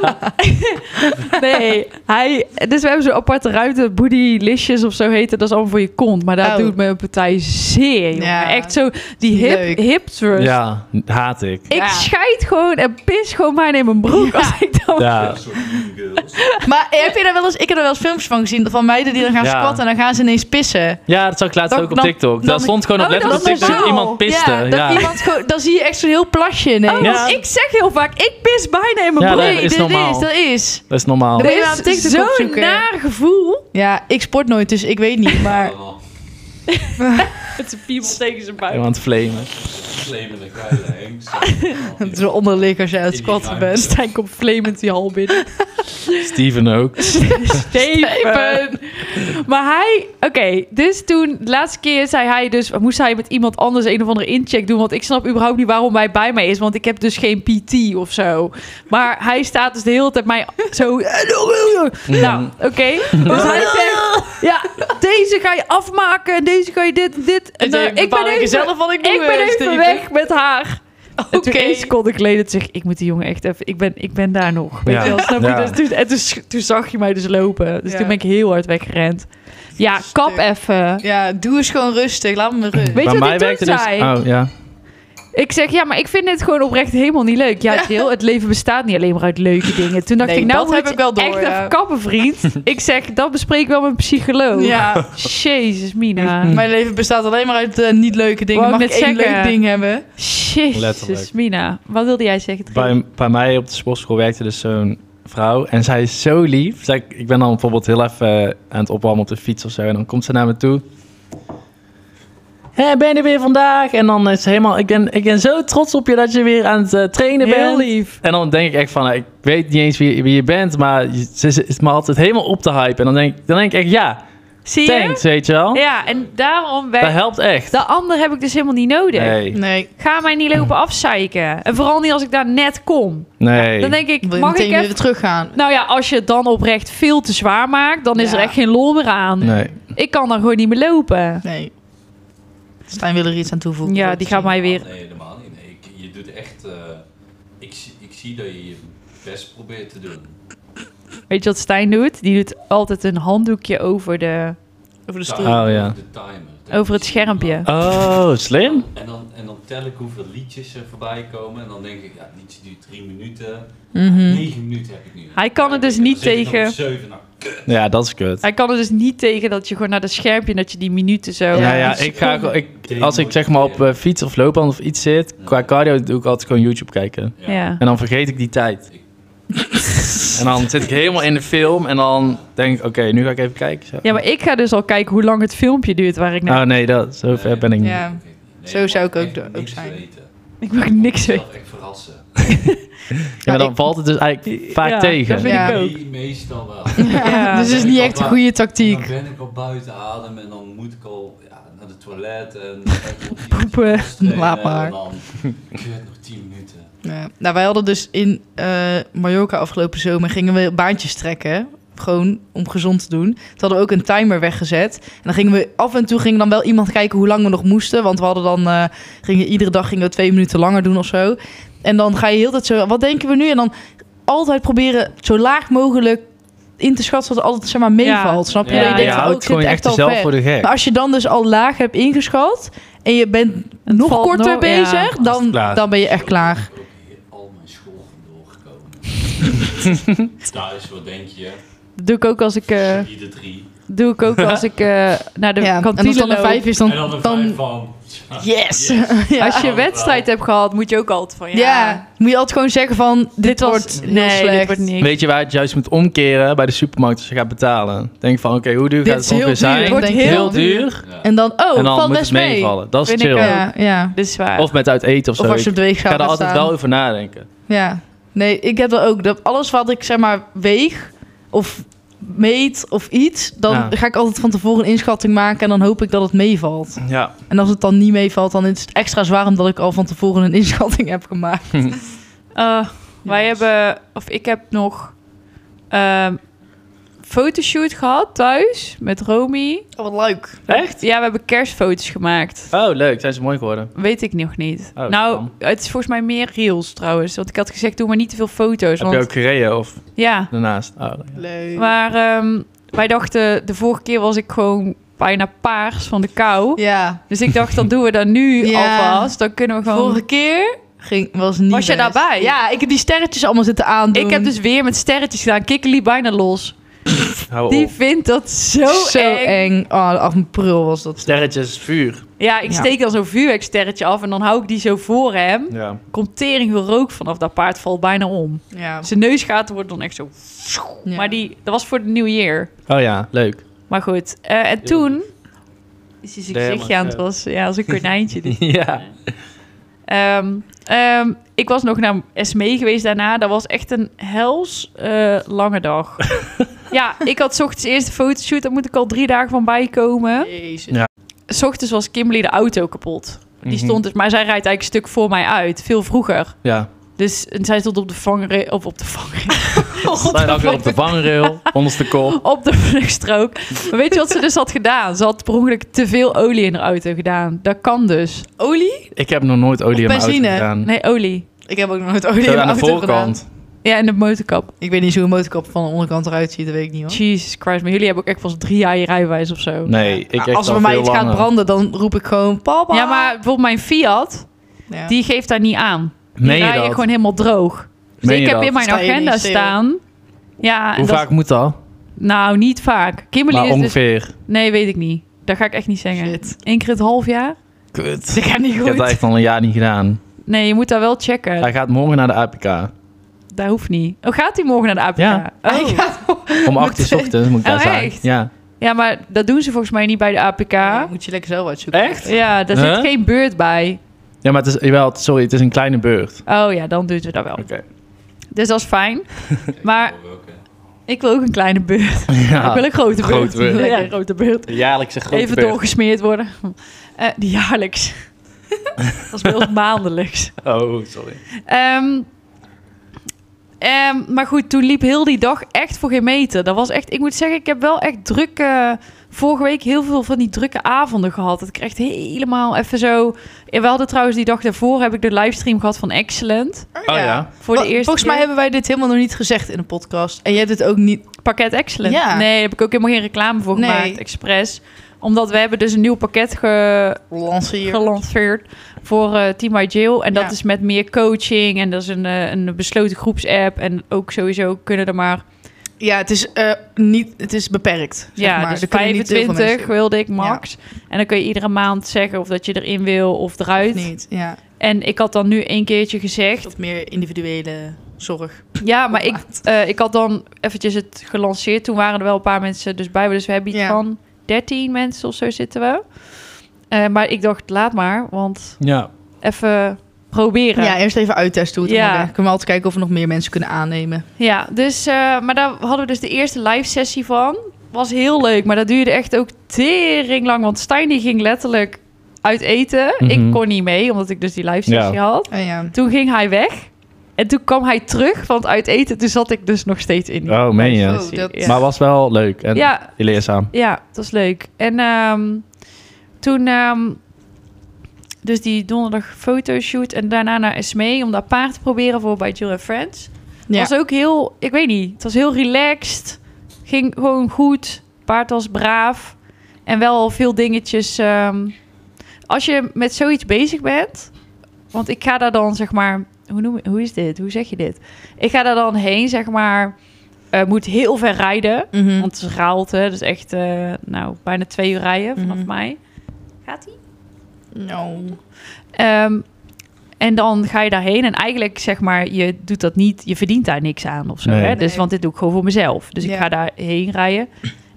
Speaker 2: heb- Nee, hij... Dus we hebben zo'n aparte ruimte, booty listjes of zo heten. Dat is allemaal voor je kont. Maar dat
Speaker 4: Oh.
Speaker 2: doet mijn partij zeer, jongen.
Speaker 4: Ja.
Speaker 2: Echt zo, die
Speaker 4: Niet
Speaker 2: hip,
Speaker 4: leuk.
Speaker 2: hip thrust.
Speaker 1: Ja, haat ik.
Speaker 2: Ik
Speaker 4: Ja.
Speaker 2: scheid gewoon en pis gewoon bijna in mijn broek als ik dan...
Speaker 1: Ja.
Speaker 6: Een soort mean girls.
Speaker 4: Maar eh, heb je daar wel eens... Ik heb er wel eens filmpjes van gezien van meiden die dan gaan
Speaker 1: Ja.
Speaker 4: squatten en dan gaan ze ineens pissen.
Speaker 1: ja, dat zag ik laatst
Speaker 4: Dan-
Speaker 1: ook op
Speaker 4: dan-
Speaker 1: TikTok.
Speaker 4: dan-
Speaker 1: Daar stond gewoon op
Speaker 2: Oh, dat
Speaker 1: letterlijk op
Speaker 2: was
Speaker 1: TikTok dat
Speaker 2: normaal.
Speaker 1: iemand piste.
Speaker 4: Ja, dat
Speaker 1: Ja,
Speaker 4: iemand gewoon... Dan zie je echt zo'n heel plasje ineens.
Speaker 2: Oh,
Speaker 1: Ja.
Speaker 2: want ik zeg heel vaak, ik pis bijna in mijn
Speaker 1: Ja,
Speaker 2: broek.
Speaker 1: dat
Speaker 4: Nee,
Speaker 1: is
Speaker 4: dit
Speaker 1: normaal.
Speaker 4: is, dat is.
Speaker 1: dat is normaal.
Speaker 4: Dat
Speaker 2: Dit
Speaker 4: moet je maar op
Speaker 2: is
Speaker 4: TikTok
Speaker 2: zo'n
Speaker 4: opzoeken.
Speaker 2: naar gevoel.
Speaker 4: Ja, ik sport nooit, dus ik weet niet, maar...
Speaker 6: Dan
Speaker 2: Het is een piemel tegen zijn buik.
Speaker 1: Iemand flamen.
Speaker 6: claimen de geile Henk.
Speaker 4: Het is wel onderlig als je aan het
Speaker 6: In die
Speaker 4: squatten
Speaker 6: ruimte.
Speaker 4: bent.
Speaker 2: Stijn komt flamend die hal binnen.
Speaker 1: Steven ook.
Speaker 2: Steven. Maar hij... Oké, dus toen... De laatste keer zei hij dus... Moest hij met iemand anders een of andere incheck doen. Want ik snap überhaupt niet waarom hij bij mij is. Want ik heb dus geen PT of zo. Maar hij staat dus de hele tijd mij zo... Nou, oké. Dus hij zegt... Ja, deze ga je afmaken. En deze ga je dit, dit. En
Speaker 4: En
Speaker 2: nou,
Speaker 4: ik ben even zelf wat ik doe.
Speaker 2: ik ben
Speaker 4: eh,
Speaker 2: even
Speaker 4: Steven.
Speaker 2: weg met haar. En toen
Speaker 4: Oké.
Speaker 2: één seconde geleden zeg ik, ik moet die jongen echt even... Ik ben, ik ben daar nog. Weet
Speaker 1: Ja.
Speaker 2: je wel, snap je?
Speaker 1: Ja.
Speaker 2: Dus toen, en toen, s- toen zag je mij dus lopen. Dus
Speaker 4: Ja.
Speaker 2: toen ben ik heel hard weggerend. Ja, kap even.
Speaker 4: Ja, doe eens gewoon rustig. Laat me rust.
Speaker 2: Weet je wat
Speaker 1: mij
Speaker 2: ik toen
Speaker 1: werkte dus...
Speaker 2: zei?
Speaker 1: Oh, ja.
Speaker 2: Ik zeg, ja, maar ik vind dit gewoon oprecht helemaal niet leuk. Ja, Jill, het leven bestaat niet alleen maar uit leuke dingen. Toen dacht
Speaker 4: Nee,
Speaker 2: ik, nou
Speaker 4: dat
Speaker 2: moet
Speaker 4: heb
Speaker 2: je
Speaker 4: ik wel door,
Speaker 2: echt
Speaker 4: ja.
Speaker 2: even kappen, vriend. ik zeg, dat bespreek ik wel met een psycholoog.
Speaker 4: Ja,
Speaker 2: Jezus, Mina.
Speaker 4: mijn leven bestaat alleen maar uit eh, niet leuke dingen.
Speaker 2: Wou
Speaker 4: Mag
Speaker 2: ik
Speaker 4: ik
Speaker 2: net
Speaker 4: één
Speaker 2: zeggen.
Speaker 4: leuk ding hebben?
Speaker 2: Jezus,
Speaker 1: Letterlijk.
Speaker 2: Mina. Wat wilde jij zeggen? Drie?
Speaker 1: Bij, bij mij op de sportschool werkte dus zo'n vrouw. En zij is zo lief. Zij, ik ben dan bijvoorbeeld heel even eh, aan het opwarmen op de fiets of zo. En dan komt ze naar me toe. Hé, ben je er weer vandaag? En dan is ze helemaal... Ik ben, ik ben zo trots op je dat je weer aan het eh, trainen
Speaker 2: Heel
Speaker 1: bent.
Speaker 2: lief.
Speaker 1: En dan denk ik echt van... eh, Ik weet niet eens wie, wie je bent. Maar je- ze ze is me altijd helemaal op te hypen. En dan denk, ik- dan denk ik echt... Ja,
Speaker 2: Zie je?
Speaker 1: thanks, weet je wel.
Speaker 2: Ja, en daarom
Speaker 1: Dat
Speaker 2: ben
Speaker 1: helpt echt.
Speaker 2: De ander heb ik dus helemaal niet nodig.
Speaker 1: Nee,
Speaker 4: Nee.
Speaker 2: Ga mij niet lopen afzeiken. En vooral niet als ik daar net kom.
Speaker 1: nee.
Speaker 2: Dan denk ik,
Speaker 4: Wil je
Speaker 2: mag ik
Speaker 4: meteen
Speaker 2: even...
Speaker 4: weer teruggaan?
Speaker 2: Nou ja, als je het dan oprecht veel te zwaar maakt, dan is
Speaker 4: Ja.
Speaker 2: er echt geen lol meer aan.
Speaker 1: Nee.
Speaker 2: Ik kan dan gewoon niet meer lopen.
Speaker 4: Nee. Stijn wil er iets aan toevoegen.
Speaker 2: Ja, die gaat mij weer...
Speaker 6: Ah, Nee, helemaal niet. Nee, ik, je doet echt... eh, ik, zie- ik zie dat je je best probeert te doen.
Speaker 2: Weet je wat Stijn doet? Die doet altijd een handdoekje over, de,
Speaker 4: Over de
Speaker 6: Time,
Speaker 4: stoel.
Speaker 1: Oh, ja.
Speaker 6: De timer. Dat
Speaker 2: over het
Speaker 6: is-
Speaker 2: schermpje.
Speaker 1: Oh, slim.
Speaker 6: En dan, en dan tel ik hoeveel liedjes er voorbij komen. En dan denk ik, ja, het liedje duurt drie minuten.
Speaker 4: Mhm.
Speaker 6: Negen minuten heb ik nu.
Speaker 2: Hm. Hij kan het dus
Speaker 6: En dan
Speaker 2: niet
Speaker 6: zit ik dan
Speaker 2: tegen-
Speaker 6: op zeven, nou,
Speaker 1: Ja, dat is kut.
Speaker 2: Hij kan er dus niet tegen dat je gewoon naar dat schermpje... en dat je die minuten zo...
Speaker 1: Ja,
Speaker 4: Ja,
Speaker 1: ja,
Speaker 4: dus
Speaker 1: ik ga gewoon- ik, als ik zeg maar op eh, fiets of loopband of iets zit,
Speaker 6: Ja.
Speaker 1: qua cardio doe ik altijd gewoon YouTube kijken.
Speaker 6: ja.
Speaker 2: Ja.
Speaker 1: En dan vergeet ik die tijd. en dan zit ik helemaal in de film en dan denk ik, oké, nu ga ik even kijken. Zo.
Speaker 2: ja, maar ik ga dus al kijken hoe lang het filmpje duurt waar ik naar...
Speaker 1: Oh nee, dat, zo ver ben ik niet.
Speaker 4: Ja.
Speaker 6: Oké, nee,
Speaker 4: Zo
Speaker 6: ik
Speaker 4: zou
Speaker 6: mag
Speaker 4: ik ook
Speaker 6: echt
Speaker 4: do- ook
Speaker 6: niks
Speaker 4: zijn.
Speaker 6: weten.
Speaker 1: Ah.
Speaker 2: Ik mag niks weten.
Speaker 6: zelf echt verrassen.
Speaker 1: Ja, maar dan
Speaker 4: ik-
Speaker 1: valt het dus eigenlijk vaak
Speaker 2: Ja,
Speaker 1: tegen.
Speaker 2: Dat vind
Speaker 4: Ja.
Speaker 2: ik ook.
Speaker 6: Me- Meestal wel.
Speaker 2: Ja.
Speaker 4: dus het is niet echt een goede tactiek.
Speaker 6: Dan ben ik al buiten adem en dan moet ik al ja, naar de toilet en dan ben ik nog iets
Speaker 2: Poepen.
Speaker 6: concentreren
Speaker 4: Laat maar.
Speaker 6: En dan kut nog 10 minuten.
Speaker 4: Ja. Nou, wij hadden dus in eh Mallorca afgelopen zomer gingen we baantjes trekken. Gewoon om gezond te doen. Toen hadden we ook een timer weggezet. En dan gingen we af en toe ging dan wel iemand kijken hoe lang we nog moesten. Want we hadden dan eh, gingen, iedere dag gingen we twee minuten langer doen of zo. En dan ga je heel de tijd zo. Wat denken we nu? En dan altijd proberen zo laag mogelijk in te schatten dat het altijd zeg maar meevalt. Snap je?
Speaker 2: Ja,
Speaker 4: Dat je
Speaker 1: je
Speaker 4: denkt van, oh, ik
Speaker 1: houdt
Speaker 4: zit
Speaker 1: gewoon echt
Speaker 4: echt al
Speaker 1: jezelf
Speaker 4: ver.
Speaker 1: voor de gek.
Speaker 4: Maar als je dan dus al laag hebt ingeschat en je bent
Speaker 2: Het
Speaker 4: nog
Speaker 2: valt
Speaker 4: korter
Speaker 2: nog- ja.
Speaker 4: bezig,
Speaker 1: Als het
Speaker 4: dan,
Speaker 1: klaar.
Speaker 4: dan ben je echt klaar.
Speaker 6: Ik heb ook hier al mijn school vandoor gekomen. Thuis, wat denk je?
Speaker 2: Dat doe ik ook als ik, eh,
Speaker 6: Ieder drie.
Speaker 2: doe ik, ook als ik eh, naar de
Speaker 4: Ja, en als
Speaker 2: kantine
Speaker 4: dan een
Speaker 2: loop.
Speaker 4: vijf is, dan...
Speaker 6: en dan een
Speaker 4: dan-
Speaker 6: vijf van.
Speaker 4: Yes! ja.
Speaker 2: Als je
Speaker 6: Ja.
Speaker 2: wedstrijd hebt gehad, moet je ook altijd van ja.
Speaker 4: Ja, moet je altijd gewoon zeggen van... Dit,
Speaker 2: Dit was
Speaker 4: wordt heel
Speaker 2: nee,
Speaker 4: slecht.
Speaker 2: dit wordt niks.
Speaker 1: Weet je waar het juist moet omkeren bij de supermarkt als je gaat betalen? Denk van, oké, hoe duur
Speaker 4: Dit
Speaker 1: gaat
Speaker 4: is
Speaker 1: het
Speaker 4: heel
Speaker 1: ongeveer
Speaker 4: duur,
Speaker 1: zijn?
Speaker 4: het wordt
Speaker 1: heel,
Speaker 4: heel
Speaker 1: duur.
Speaker 6: Ja.
Speaker 4: En dan, oh,
Speaker 1: En dan
Speaker 4: valt
Speaker 1: moet
Speaker 4: best
Speaker 1: het
Speaker 4: mee. eh,
Speaker 1: meevallen. Dat is
Speaker 2: Vind ik
Speaker 1: chill.
Speaker 2: ook.
Speaker 4: Ja, ja.
Speaker 2: Dit is waar.
Speaker 1: Of met uit eten of zo.
Speaker 4: Of als je
Speaker 1: ik
Speaker 4: op de
Speaker 1: ga
Speaker 4: weegschaal
Speaker 1: er
Speaker 4: gaat
Speaker 1: altijd
Speaker 4: staan.
Speaker 1: wel over nadenken.
Speaker 4: Ja. Nee, ik heb dat ook. Dat alles wat ik zeg maar weeg of meet of iets... dan
Speaker 1: Ja.
Speaker 4: ga ik altijd van tevoren een inschatting maken... en dan hoop ik dat het meevalt.
Speaker 1: Ja.
Speaker 4: En als het dan niet meevalt, dan is het extra zwaar... omdat ik al van tevoren een inschatting heb gemaakt.
Speaker 2: Eh, wij
Speaker 4: Yes.
Speaker 2: hebben, of ik heb nog ehm, fotoshoot gehad thuis met Romy.
Speaker 4: Oh, wat leuk.
Speaker 1: Echt?
Speaker 2: Ja, we hebben kerstfoto's gemaakt.
Speaker 1: Oh, leuk. Zijn ze mooi geworden?
Speaker 2: Weet ik nog niet.
Speaker 1: Oh,
Speaker 2: nou,
Speaker 1: dan.
Speaker 2: het is volgens mij meer reels trouwens. Want ik had gezegd, doe maar niet te veel foto's.
Speaker 1: Heb je
Speaker 2: Want
Speaker 1: ook gereden of
Speaker 2: ja,
Speaker 1: daarnaast? Oh, leuk.
Speaker 4: Leuk.
Speaker 2: maar ehm, wij dachten, de vorige keer was ik gewoon bijna paars van de kou.
Speaker 4: Ja,
Speaker 2: Dus ik dacht, dan doen we dat nu
Speaker 4: Ja.
Speaker 2: alvast. Dan kunnen we gewoon...
Speaker 4: vorige keer ging, was niet
Speaker 2: Was je
Speaker 4: best.
Speaker 2: daarbij?
Speaker 4: Ja, ik heb die sterretjes allemaal zitten aandoen.
Speaker 2: Ik heb dus weer met sterretjes gedaan. Kikkerlie bijna los.
Speaker 1: Hou
Speaker 2: Die
Speaker 1: op.
Speaker 2: vindt dat zo,
Speaker 4: Oh. zo eng. Oh, af mijn prul was dat.
Speaker 1: Sterretjes, vuur.
Speaker 2: Ja, ik
Speaker 4: Ja.
Speaker 2: steek dan zo'n vuurwerksterretje af en dan hou ik die zo voor hem.
Speaker 1: Ja.
Speaker 2: Komt tering veel rook vanaf dat paard, valt bijna om.
Speaker 4: Ja.
Speaker 2: Zijn neusgaten worden dan echt zo... Maar die, dat was voor de New Year.
Speaker 1: Oh ja, leuk.
Speaker 2: Maar goed, eh, en toen... Is hij zijn
Speaker 1: Nee,
Speaker 2: gezichtje aan het
Speaker 1: maar,
Speaker 2: was. Ja, als een konijntje. dit.
Speaker 1: ja.
Speaker 2: Ehm, ehm, ik was nog naar SME geweest daarna. Dat was echt een hels eh, lange dag. ja, ik had 's ochtends eerst de fotoshoot. Daar moet ik al drie dagen van bijkomen.
Speaker 4: Jezus.
Speaker 1: Ja.
Speaker 2: 's ochtends was Kimberly de auto kapot. Die
Speaker 1: Mhm.
Speaker 2: stond dus, maar zij rijdt eigenlijk een stuk voor mij uit. Veel vroeger.
Speaker 1: Ja.
Speaker 2: Dus en zij stond op de vangrail, of op de vangrail,
Speaker 1: Zijn ook weer op de vangrail, onderste kop.
Speaker 2: op de vluchtstrook. Maar weet je wat ze dus had gedaan? Ze had per ongeluk te veel olie in haar auto gedaan. Dat kan dus.
Speaker 4: Olie?
Speaker 1: Ik heb nog nooit olie
Speaker 4: Of
Speaker 1: in mijn auto
Speaker 4: benzine.
Speaker 1: gedaan.
Speaker 2: Nee, olie.
Speaker 4: Ik heb ook nog nooit olie
Speaker 1: Zo
Speaker 4: in mijn
Speaker 1: aan de
Speaker 4: auto
Speaker 1: voorkant.
Speaker 4: gedaan.
Speaker 2: Ja, en de motorkap.
Speaker 4: Ik weet niet hoe een motorkap van de onderkant eruit ziet, dat weet ik niet hoor.
Speaker 2: Jesus Christ, maar jullie hebben ook echt pas drie jaar je rijbewijs of zo.
Speaker 1: Nee, ik echt
Speaker 4: Ah, Als er
Speaker 1: al
Speaker 4: bij mij
Speaker 1: veel
Speaker 4: iets
Speaker 1: langer.
Speaker 4: gaat branden, dan roep ik gewoon papa.
Speaker 2: Ja, maar bijvoorbeeld mijn Fiat,
Speaker 4: Ja.
Speaker 2: die geeft daar niet aan. Die
Speaker 1: Meen je
Speaker 2: rij je
Speaker 1: dat?
Speaker 2: gewoon helemaal droog. Dus
Speaker 1: Meen
Speaker 2: ik
Speaker 1: je
Speaker 2: heb
Speaker 1: dat?
Speaker 2: in mijn
Speaker 4: Sta je niet
Speaker 2: agenda
Speaker 4: stil?
Speaker 2: staan. Ja, en
Speaker 1: Hoe
Speaker 2: dat-
Speaker 1: vaak moet dat?
Speaker 2: nou niet vaak. Kimberly
Speaker 1: Maar
Speaker 2: is dus-
Speaker 1: ongeveer.
Speaker 2: Nee, weet ik niet. Dat ga ik echt niet zeggen.
Speaker 4: Shit.
Speaker 2: Eén keer het half jaar?
Speaker 1: Kut.
Speaker 4: Dat gaat niet
Speaker 1: Ik heb dat
Speaker 4: goed.
Speaker 1: echt al een jaar niet gedaan.
Speaker 2: Nee, je moet daar wel checken.
Speaker 1: Hij gaat morgen naar de APK.
Speaker 2: Dat hoeft niet. Oh, gaat hij morgen naar de APK?
Speaker 1: Ja.
Speaker 2: Oh.
Speaker 4: Hij gaat-
Speaker 1: Om 8 uur 's ochtends moet ik daar
Speaker 2: Oh,
Speaker 1: zijn.
Speaker 2: echt?
Speaker 1: Ja.
Speaker 2: Ja, maar dat doen ze volgens mij niet bij de APK.
Speaker 4: Ja, Moet je lekker zelf uitzoeken.
Speaker 1: Echt?
Speaker 2: Ja, daar
Speaker 1: Huh?
Speaker 2: zit geen beurt bij.
Speaker 1: ja, maar het is, jawel, het- sorry, het is een kleine beurt.
Speaker 2: Oh ja, dan doen ze dat wel.
Speaker 1: Oké.
Speaker 2: Dus dat is fijn. Maar
Speaker 6: Hoor ook, hè.
Speaker 2: ik wil ook een kleine beurt. Ik wil
Speaker 1: Ja.
Speaker 2: een grote beurt.
Speaker 1: Grote beurt.
Speaker 2: Ja,
Speaker 4: Lekker.
Speaker 2: een grote beurt.
Speaker 1: De jaarlijkse grote
Speaker 2: Even
Speaker 1: beurt.
Speaker 2: doorgesmeerd worden. Eh, die jaarlijks. dat is bij ons maandelijks.
Speaker 1: Oh, sorry.
Speaker 2: Ehm, ehm, maar goed, toen liep heel die dag echt voor geen meter. Dat was echt, ik moet zeggen, ik heb wel echt drukke... Vorige week heel veel van die drukke avonden gehad. Dat ik echt helemaal even zo... En we hadden trouwens die dag daarvoor heb ik de livestream gehad van Excellent.
Speaker 1: Oh ja.
Speaker 2: Voor de
Speaker 4: Wa-
Speaker 2: eerste
Speaker 4: Volgens mij
Speaker 2: keer.
Speaker 4: hebben wij dit helemaal nog niet gezegd in de podcast. En jij hebt het ook niet...
Speaker 2: pakket Excellent.
Speaker 4: Ja.
Speaker 2: Nee, daar heb ik ook helemaal geen reclame voor
Speaker 4: Nee.
Speaker 2: gemaakt, expres. Omdat we hebben dus een nieuw pakket ge,
Speaker 4: Lanceer.
Speaker 2: gelanceerd voor eh Team My Jail. En dat
Speaker 4: Ja.
Speaker 2: is met meer coaching. En dat is een, eh, een besloten groepsapp. En ook sowieso kunnen er maar...
Speaker 4: Ja, het is, eh, niet, het is beperkt. zeg
Speaker 2: ja,
Speaker 4: maar.
Speaker 2: dus
Speaker 4: Er kunnen niet heel veel
Speaker 2: 25
Speaker 4: mensen
Speaker 2: wilde ik max. En dan kun je iedere maand zeggen of dat je erin wil of
Speaker 4: in.
Speaker 2: eruit.
Speaker 4: Of niet, ja.
Speaker 2: En ik had dan nu één keertje gezegd...
Speaker 4: Tot meer individuele zorg.
Speaker 2: Ja, maar ik,
Speaker 4: Opmaat.
Speaker 2: eh, ik had dan eventjes het gelanceerd. Toen waren er wel een paar mensen dus bij. Dus we hebben iets
Speaker 4: Ja.
Speaker 2: van 13 mensen of zo zitten we. Eh, maar ik dacht, laat maar. Want
Speaker 1: Ja.
Speaker 2: even proberen.
Speaker 3: Ja, eerst even uittesten hoe het
Speaker 2: Ja.
Speaker 3: allemaal werkt. Kunnen we altijd kijken of we nog meer mensen kunnen aannemen.
Speaker 2: Ja, dus, eh, maar daar hadden we dus de eerste live sessie van. Was heel leuk, maar dat duurde echt ook tering lang. Want Stijn die ging letterlijk uit eten.
Speaker 1: Mhm.
Speaker 2: Ik kon niet mee, omdat ik dus die live sessie had.
Speaker 3: En Eh, ja.
Speaker 2: Toen ging hij weg. En toen kwam hij terug, want uit eten, toen zat ik dus nog steeds in. die
Speaker 1: Oh, meen je?
Speaker 2: live sessie.
Speaker 3: Oh, dat-
Speaker 2: Ja.
Speaker 1: Maar was wel leuk en
Speaker 2: ja,
Speaker 1: leerzaam.
Speaker 2: ja, het was leuk. En ehm, toen, ehm, dus die donderdag fotoshoot en daarna naar Esmee om dat paard te proberen voor bij Jill and Friends.
Speaker 3: Ja.
Speaker 2: was ook heel, ik weet niet, het was heel relaxed. Ging gewoon goed. Paard was braaf. En wel veel dingetjes. ehm, als je met zoiets bezig bent, want ik ga daar dan zeg maar, hoe, noem, hoe is dit? Hoe zeg je dit? Ik ga daar dan heen, zeg maar, eh, moet heel ver rijden.
Speaker 3: Mhm.
Speaker 2: Want het is Raalte, dus echt, eh, nou, bijna twee uur rijden vanaf
Speaker 3: Mhm.
Speaker 2: mij. Gaat ie?
Speaker 3: Nou.
Speaker 2: Ehm, en dan ga je daarheen en eigenlijk zeg maar, je doet dat niet, je verdient daar niks aan of zo.
Speaker 1: Nee.
Speaker 2: Hè? Dus,
Speaker 3: Nee.
Speaker 2: Want dit doe ik gewoon voor mezelf. Dus
Speaker 3: Ja.
Speaker 2: ik ga daarheen rijden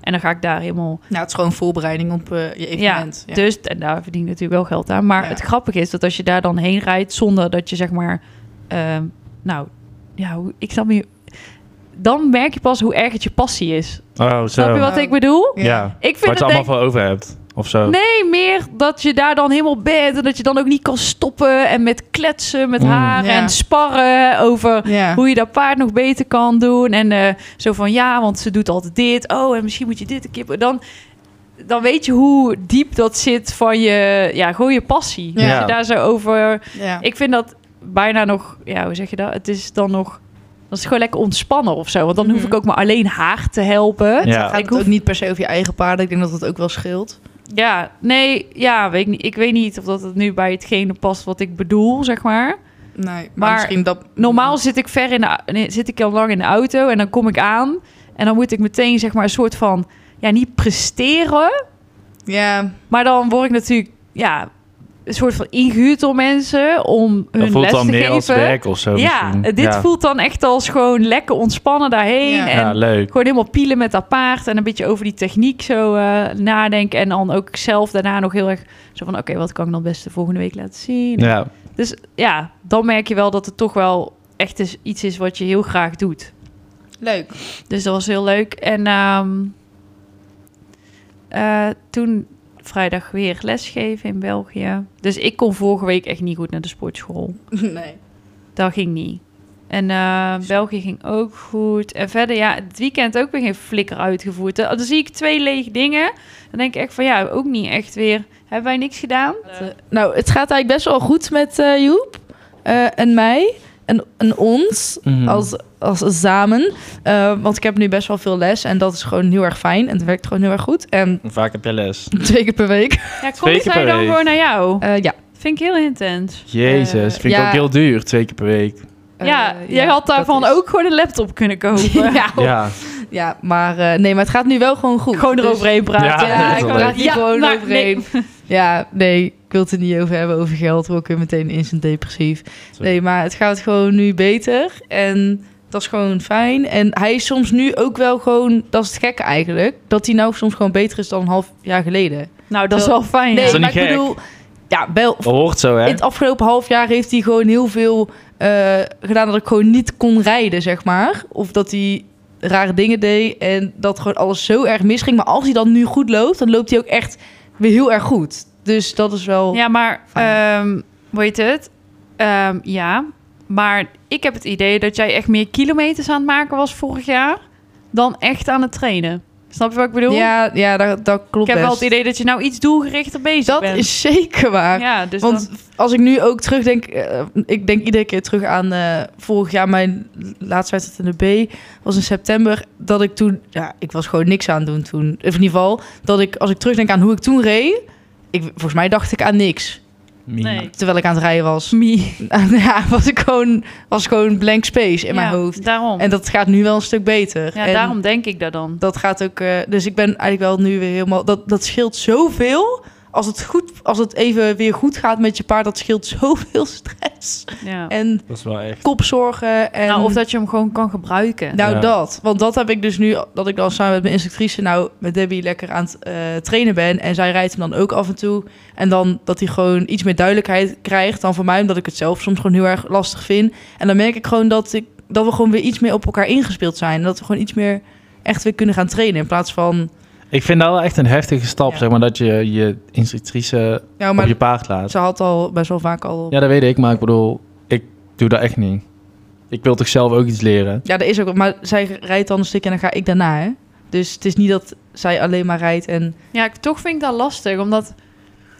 Speaker 2: en dan ga ik daar helemaal.
Speaker 3: nou, het is gewoon voorbereiding op eh, je evenement. Ja.
Speaker 2: Dus en daar verdien ik natuurlijk wel geld aan. Maar
Speaker 3: Ja.
Speaker 2: het grappige is dat als je daar dan heen rijdt zonder dat je zeg maar, ehm, nou, ja, hoe- ik snap niet. Dan merk je pas hoe erg het je passie is.
Speaker 1: Oh, zo.
Speaker 2: Snap je wat ik bedoel?
Speaker 1: Ja.
Speaker 2: Ik vind
Speaker 1: Wat
Speaker 2: het
Speaker 1: je allemaal
Speaker 2: denk-
Speaker 1: voor over hebt of zo.
Speaker 2: Nee, meer dat je daar dan helemaal bent en dat je dan ook niet kan stoppen en met kletsen met
Speaker 1: Mm.
Speaker 2: haar
Speaker 3: Ja.
Speaker 2: en sparren over
Speaker 3: Ja.
Speaker 2: hoe je dat paard nog beter kan doen en eh, zo van ja, want ze doet altijd dit. Oh, en misschien moet je dit een keer dan dan weet je hoe diep dat zit van je ja, gewoon je passie.
Speaker 3: Ja.
Speaker 2: Als je daar zo over
Speaker 3: Ja.
Speaker 2: ik vind dat bijna nog ja, hoe zeg je dat? Het is dan nog dat is gewoon lekker ontspannen of zo, want dan hoef
Speaker 3: Mhm.
Speaker 2: ik ook maar alleen haar te helpen.
Speaker 1: Ja.
Speaker 3: Gaat
Speaker 2: Ik
Speaker 3: het
Speaker 2: hoef-
Speaker 3: ook niet per se over je eigen paarden. Ik denk dat dat ook wel scheelt.
Speaker 2: Ja, nee, ja, weet ik, niet, ik weet niet of dat het nu bij hetgene past wat ik bedoel, zeg maar.
Speaker 3: Nee, maar,
Speaker 2: Maar
Speaker 3: misschien dat...
Speaker 1: Mm.
Speaker 2: Normaal zit ik ver in de, au- nee, zit ik al lang in de auto en dan kom ik aan en dan moet ik meteen zeg maar een soort van, ja, niet presteren,
Speaker 3: Ja,
Speaker 2: maar dan word ik natuurlijk, ja, een soort van ingehuurd door mensen om hun
Speaker 1: Dat voelt
Speaker 2: les
Speaker 1: dan
Speaker 2: te
Speaker 1: meer
Speaker 2: geven.
Speaker 1: als werk of zo.
Speaker 2: ja,
Speaker 1: misschien.
Speaker 2: dit
Speaker 1: ja.
Speaker 2: voelt dan echt als gewoon lekker ontspannen daarheen
Speaker 3: Ja.
Speaker 2: en
Speaker 1: Ja, leuk.
Speaker 2: gewoon helemaal pielen met dat paard en een beetje over die techniek zo eh, nadenken. En dan ook zelf daarna nog heel erg zo van, oké, wat kan ik dan best de volgende week laten zien?
Speaker 1: Ja.
Speaker 2: Dus ja, dan merk je wel dat het toch wel echt is, iets is wat je heel graag doet.
Speaker 3: leuk.
Speaker 2: Dus dat was heel leuk. En ehm, eh, toen vrijdag weer lesgeven in België. Dus ik kon vorige week echt niet goed naar de sportschool.
Speaker 3: Nee.
Speaker 2: Dat ging niet. En eh, België ging ook goed. En verder, ja, het weekend ook weer geen flikker uitgevoerd. Dan, dan zie ik twee lege dingen. Dan denk ik echt van, ja, ook niet echt weer. Hebben wij niks gedaan?
Speaker 4: Nou, het gaat eigenlijk best wel goed met eh, Joep eh, en mij en, en ons
Speaker 1: Mhm.
Speaker 4: als, als samen. Eh, want ik heb nu best wel veel les en dat is gewoon heel erg fijn. En het werkt gewoon heel erg goed. En
Speaker 1: Vaak heb je les.
Speaker 4: twee keer per week.
Speaker 1: Twee
Speaker 2: Ja, komt
Speaker 1: keer
Speaker 2: zij
Speaker 1: per
Speaker 2: dan
Speaker 1: week.
Speaker 2: gewoon naar jou?
Speaker 4: Eh, ja.
Speaker 2: Vind ik heel intens.
Speaker 1: Jezus,
Speaker 4: Eh,
Speaker 1: vind ik
Speaker 4: ja.
Speaker 1: ook heel duur, twee keer per week.
Speaker 4: Eh,
Speaker 2: ja,
Speaker 4: ja,
Speaker 2: jij had daarvan
Speaker 4: dat is-
Speaker 2: ook gewoon een laptop kunnen kopen.
Speaker 4: ja,
Speaker 1: Ja,
Speaker 4: ja, maar eh, nee, maar het gaat nu wel gewoon goed.
Speaker 2: Gewoon
Speaker 4: Dus-
Speaker 2: eroverheen praten.
Speaker 1: Ja, dat
Speaker 4: Ja, nou,
Speaker 1: is
Speaker 4: ik
Speaker 1: wel
Speaker 4: praat
Speaker 2: leuk.
Speaker 4: hier gewoon
Speaker 2: Ja, maar
Speaker 4: overheen. Ja, nee, ik wil het er niet over hebben, over geld. Word ik weer meteen instant depressief.
Speaker 1: Sorry.
Speaker 4: Nee, maar het gaat gewoon nu beter. En dat is gewoon fijn. En hij is soms nu ook wel gewoon... Dat is het gekke eigenlijk. Dat hij nou soms gewoon beter is dan een half jaar geleden.
Speaker 2: Nou, dat is wel fijn.
Speaker 4: Nee,
Speaker 1: Is
Speaker 2: ja.
Speaker 1: dat
Speaker 4: maar
Speaker 1: niet
Speaker 4: ik
Speaker 1: gek?
Speaker 4: bedoel... Ja, wel...
Speaker 1: dat hoort zo, hè?
Speaker 4: In het afgelopen half jaar heeft hij gewoon heel veel eh, gedaan dat ik gewoon niet kon rijden, zeg maar. Of dat hij rare dingen deed en dat gewoon alles zo erg misging. Maar als hij dan nu goed loopt, dan loopt hij ook echt weer heel erg goed. Dus dat is wel...
Speaker 2: Ja, maar
Speaker 4: Fijn.
Speaker 2: ehm weet het? Ehm, ja, maar ik heb het idee dat jij echt meer kilometers aan het maken was vorig jaar dan echt aan het trainen. Snap je wat ik bedoel?
Speaker 4: ja, ja, dat, dat klopt
Speaker 2: ik heb wel
Speaker 4: best.
Speaker 2: het idee dat je nou iets doelgerichter bezig
Speaker 4: dat
Speaker 2: bent.
Speaker 4: is zeker waar.
Speaker 2: ja, dus
Speaker 4: Want
Speaker 2: dan-
Speaker 4: als ik nu ook terugdenk, eh, ik denk iedere keer terug aan eh, vorig jaar mijn laatste wedstrijd in de B was in september. Dat ik toen, ja, ik was gewoon niks aan het doen toen. Of in ieder geval dat ik, als ik terugdenk aan hoe ik toen reed, ik, volgens mij dacht ik aan niks
Speaker 1: Mie.
Speaker 2: nee.
Speaker 4: terwijl ik aan het rijden was. ja, was ik gewoon, was gewoon blank space in mijn
Speaker 2: Ja,
Speaker 4: hoofd.
Speaker 2: Daarom.
Speaker 4: En dat gaat nu wel een stuk beter.
Speaker 2: ja,
Speaker 4: En
Speaker 2: daarom denk ik dat dan.
Speaker 4: Dat gaat ook, eh, dus ik ben eigenlijk wel nu weer helemaal. Dat, dat scheelt zoveel als het, goed, als het even weer goed gaat met je paard, dat scheelt zoveel stress.
Speaker 2: Ja.
Speaker 4: En
Speaker 1: Dat is wel echt.
Speaker 4: kopzorgen. En...
Speaker 2: Nou, of dat je hem gewoon kan gebruiken.
Speaker 4: Nou,
Speaker 1: Ja.
Speaker 4: dat. Want dat heb ik dus nu, dat ik dan samen met mijn instructrice, nou, met Debbie lekker aan het eh, trainen ben. En zij rijdt hem dan ook af en toe. En dan dat hij gewoon iets meer duidelijkheid krijgt dan voor mij, omdat ik het zelf soms gewoon heel erg lastig vind. En dan merk ik gewoon dat, ik, dat we gewoon weer iets meer op elkaar ingespeeld zijn. En dat we gewoon iets meer echt weer kunnen gaan trainen. In plaats van,
Speaker 1: Ik vind dat wel echt een heftige stap,
Speaker 4: Ja.
Speaker 1: zeg maar, dat je je instructrice
Speaker 4: nou,
Speaker 1: op
Speaker 4: maar
Speaker 1: je paard laat.
Speaker 4: ze had al best wel vaak al. Ja.
Speaker 1: Ja, dat weet ik, maar ik bedoel, ik doe dat echt niet. Ik wil toch zelf ook iets leren?
Speaker 4: ja, dat is ook. Maar zij rijdt dan een stukje en dan ga ik daarna. Hè? Dus het is niet dat zij alleen maar rijdt en
Speaker 2: Ja, ik, toch vind ik dat lastig, omdat